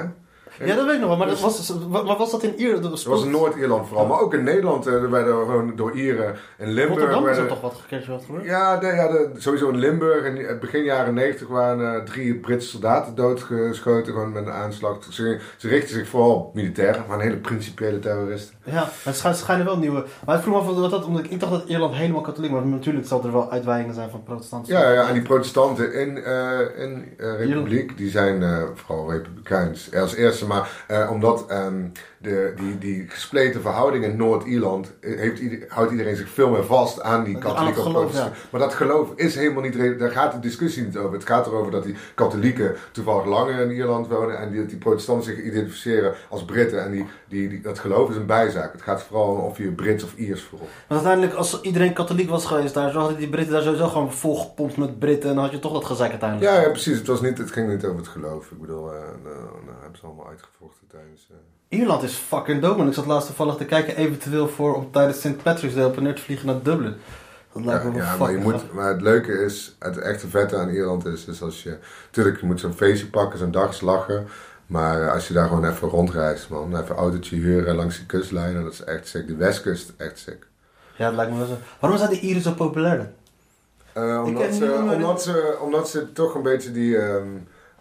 Speaker 4: Ja, dat weet ik nog wel, maar, dat was, maar was dat in Ierland? Dat
Speaker 3: Dat Dus- was in Noord-Ierland vooral, maar ook in Nederland eh, er werden gewoon door Ieren en Limburg.
Speaker 4: Rotterdam is er
Speaker 3: werden-
Speaker 4: toch wat gekregen wat gebeurd?
Speaker 3: eh, Ja, nee, ja de- sowieso in Limburg. In het begin jaren 90 waren eh, drie Britse soldaten doodgeschoten gewoon met een aanslag. Ze, ze richten zich vooral op militairen, maar een hele principiële terroristen.
Speaker 4: Ja, maar ze schijnen wel nieuwe. Maar ik vroeg me af wat dat, omdat ik, ik dacht dat Ierland helemaal katholiek was, maar natuurlijk zal er wel uitwijkingen zijn van protestanten.
Speaker 3: Ja, ja, en die protestanten in, eh in eh, Republiek, die zijn eh, vooral republikeins. Als eerste mensen. Maar eh, omdat ehm, de, die, die gespleten verhouding in Noord-Ierland... eh, heeft ieder- houdt iedereen zich veel meer vast aan die
Speaker 4: Aan het
Speaker 3: katholieke
Speaker 4: geloof,
Speaker 3: protestant- Maar dat geloof is helemaal niet... re- Daar gaat de discussie niet over. Het gaat erover dat die katholieken toevallig langer in Ierland wonen... en die, die protestanten zich identificeren als Britten. En die, die, die- dat geloof is een bijzaak. Het gaat vooral om of je Brits of Iers voelt.
Speaker 4: Want uiteindelijk, als iedereen katholiek was geweest daar, zo hadden die Britten daar sowieso gewoon volgepompt met Britten. En dan had je toch dat gezeik uiteindelijk.
Speaker 3: Ja, ja, precies. Het, was niet, het ging niet over het geloof. Ik bedoel, eh nou, nou, hebben ze allemaal uitgevochten tijdens... eh,
Speaker 4: Ierland is fucking dom. En ik zat laatst toevallig te kijken, eventueel voor om tijdens St. Patrick's Day op een neer te vliegen naar Dublin. Dat lijkt
Speaker 3: Ja,
Speaker 4: me wel
Speaker 3: ja,
Speaker 4: fucking
Speaker 3: maar, je
Speaker 4: gaaf.
Speaker 3: moet, maar het leuke is, het echte vette aan Ierland is, is als je... Tuurlijk, je moet zo'n feestje pakken, zo'n dagslachen. Maar eh, als je daar gewoon even rondreist, man. Even een autootje huren langs de kustlijnen, dat is echt sick. De westkust, echt sick.
Speaker 4: Ja, dat lijkt me wel zo. Waarom zijn die Ieren zo populair dan?
Speaker 3: Eh,
Speaker 4: ken
Speaker 3: omdat, ze,
Speaker 4: niemand-
Speaker 3: omdat, ze, omdat ze toch een beetje die... ehm,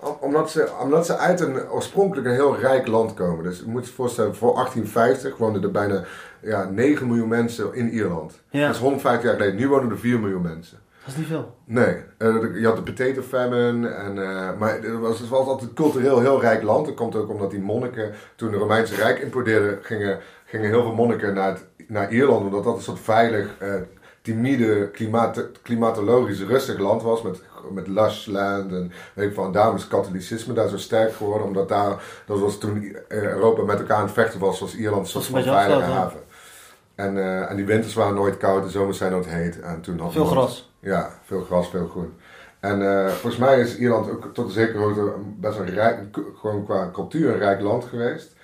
Speaker 3: om- omdat ze, omdat ze uit een oorspronkelijk een heel rijk land komen. Dus je moet je voorstellen, voor 1850 woonden er bijna ja, 9 miljoen mensen in Ierland.
Speaker 4: Ja.
Speaker 3: Dat is 150 jaar geleden. Nu wonen er 4 miljoen mensen.
Speaker 4: Dat is niet veel.
Speaker 3: Nee, eh, je had de potato famine, en, eh, maar het was, het was altijd cultureel heel rijk land. Dat komt ook omdat die monniken, toen het Romeinse Rijk importeerde, gingen, gingen heel veel monniken naar, het, naar Ierland. Omdat dat een soort veilig, eh, timide, klimaat, klimatologisch rustig land was. Met, met lush land en weet ik van. Daarom is het katholicisme daar zo sterk geworden. Omdat daar, dat was toen eh, Europa met elkaar aan het vechten was, was Ierland een soort
Speaker 4: een
Speaker 3: van
Speaker 4: beetje
Speaker 3: veilige
Speaker 4: afgesloten,
Speaker 3: haven. En, eh, en die winters waren nooit koud, de zomers zijn nooit heet. En toen had
Speaker 4: Veel
Speaker 3: niemand-
Speaker 4: gras.
Speaker 3: ja, veel gras, veel groen. En eh, volgens mij is Ierland ook tot een zekere hoogte best een rijk, gewoon qua cultuur een rijk land geweest.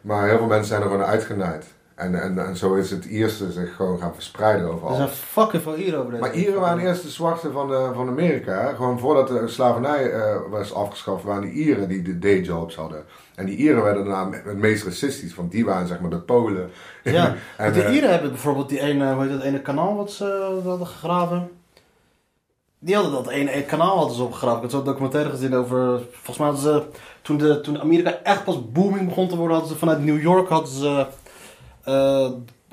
Speaker 3: Maar heel veel mensen zijn er gewoon uitgenaaid. En, en, en zo is het Ierse zich gewoon gaan verspreiden
Speaker 4: Er
Speaker 3: overal.
Speaker 4: zijn fucking veel Ieren over deze
Speaker 3: Maar Ieren waren eerst de zwarten van, eh, van Amerika. hè. Gewoon voordat de slavernij eh, was afgeschaft, waren die Ieren die de dayjobs hadden. En die Ieren werden daarna het meest racistisch, want die waren zeg maar de Polen.
Speaker 4: Ja,
Speaker 3: En,
Speaker 4: de
Speaker 3: eh,
Speaker 4: Ieren hebben bijvoorbeeld die ene, hoe heet dat ene kanaal wat ze hadden gegraven. Die hadden dat ene, ene kanaal hadden ze opgegraven. Ik had zo'n documentaire gezien over, volgens mij hadden ze, toen, de, toen Amerika echt pas booming begon te worden, hadden ze vanuit New York, hadden ze, eh,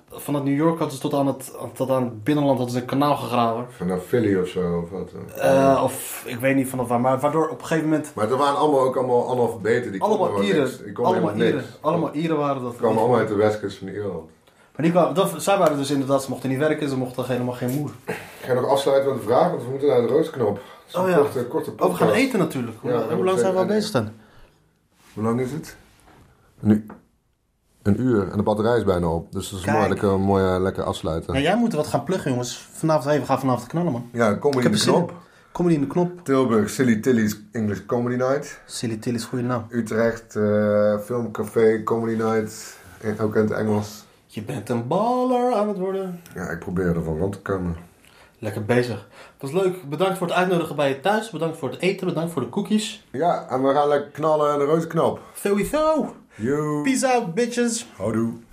Speaker 4: vanuit New York hadden ze tot aan het, tot aan het binnenland hadden ze een kanaal gegraven.
Speaker 3: Vanaf Philly of zo. Of wat, eh.
Speaker 4: Eh, of ik weet niet vanaf waar, maar waardoor op een gegeven moment
Speaker 3: Maar er waren allemaal ook allemaal analfabeten. Die konden
Speaker 4: allemaal
Speaker 3: gewoon
Speaker 4: Ieren,
Speaker 3: niks. Die konden
Speaker 4: allemaal
Speaker 3: helemaal
Speaker 4: Ieren,
Speaker 3: niks.
Speaker 4: allemaal Ieren waren dat.
Speaker 3: Die kwamen allemaal uit de westkust van Ierland.
Speaker 4: Maar die kwamen, dat, zij waren dus inderdaad, ze mochten niet werken, ze mochten helemaal geen moer.
Speaker 3: Ik ga nog afsluiten met een vraag, want we moeten naar de roodknop. Het is een
Speaker 4: Oh ja.
Speaker 3: korte, korte
Speaker 4: Oh, we gaan
Speaker 3: podcast.
Speaker 4: eten natuurlijk.
Speaker 3: Ja,
Speaker 4: Hoe lang zijn we al
Speaker 3: en-
Speaker 4: bezig dan?
Speaker 3: Hoe lang is het? Nu. Een uur en de batterij is bijna op. Dus dat is
Speaker 4: Kijk.
Speaker 3: mooi, lekker, mooi eh, lekker afsluiten.
Speaker 4: Ja, Nou, jij moet wat gaan pluggen, jongens. Vanavond even gaan vanavond knallen, man.
Speaker 3: Ja,
Speaker 4: Ik
Speaker 3: comedy
Speaker 4: heb
Speaker 3: de
Speaker 4: een zin.
Speaker 3: knop.
Speaker 4: Kom niet in de knop.
Speaker 3: Tilburg, Silly Tilly's English Comedy Night.
Speaker 4: Silly Tilly's goede naam.
Speaker 3: Utrecht, eh, Filmcafé Comedy Night. En Ook in het Engels.
Speaker 4: Je bent een baller aan het worden.
Speaker 3: Ja, ik probeer er van rond te komen.
Speaker 4: Lekker bezig. Was leuk. Bedankt voor het uitnodigen bij je thuis. Bedankt voor het eten. Bedankt voor de cookies.
Speaker 3: Ja, en we gaan lekker knallen aan de roodknop.
Speaker 4: Sowieso.
Speaker 3: You.
Speaker 4: Peace out, bitches.
Speaker 3: Houdoe.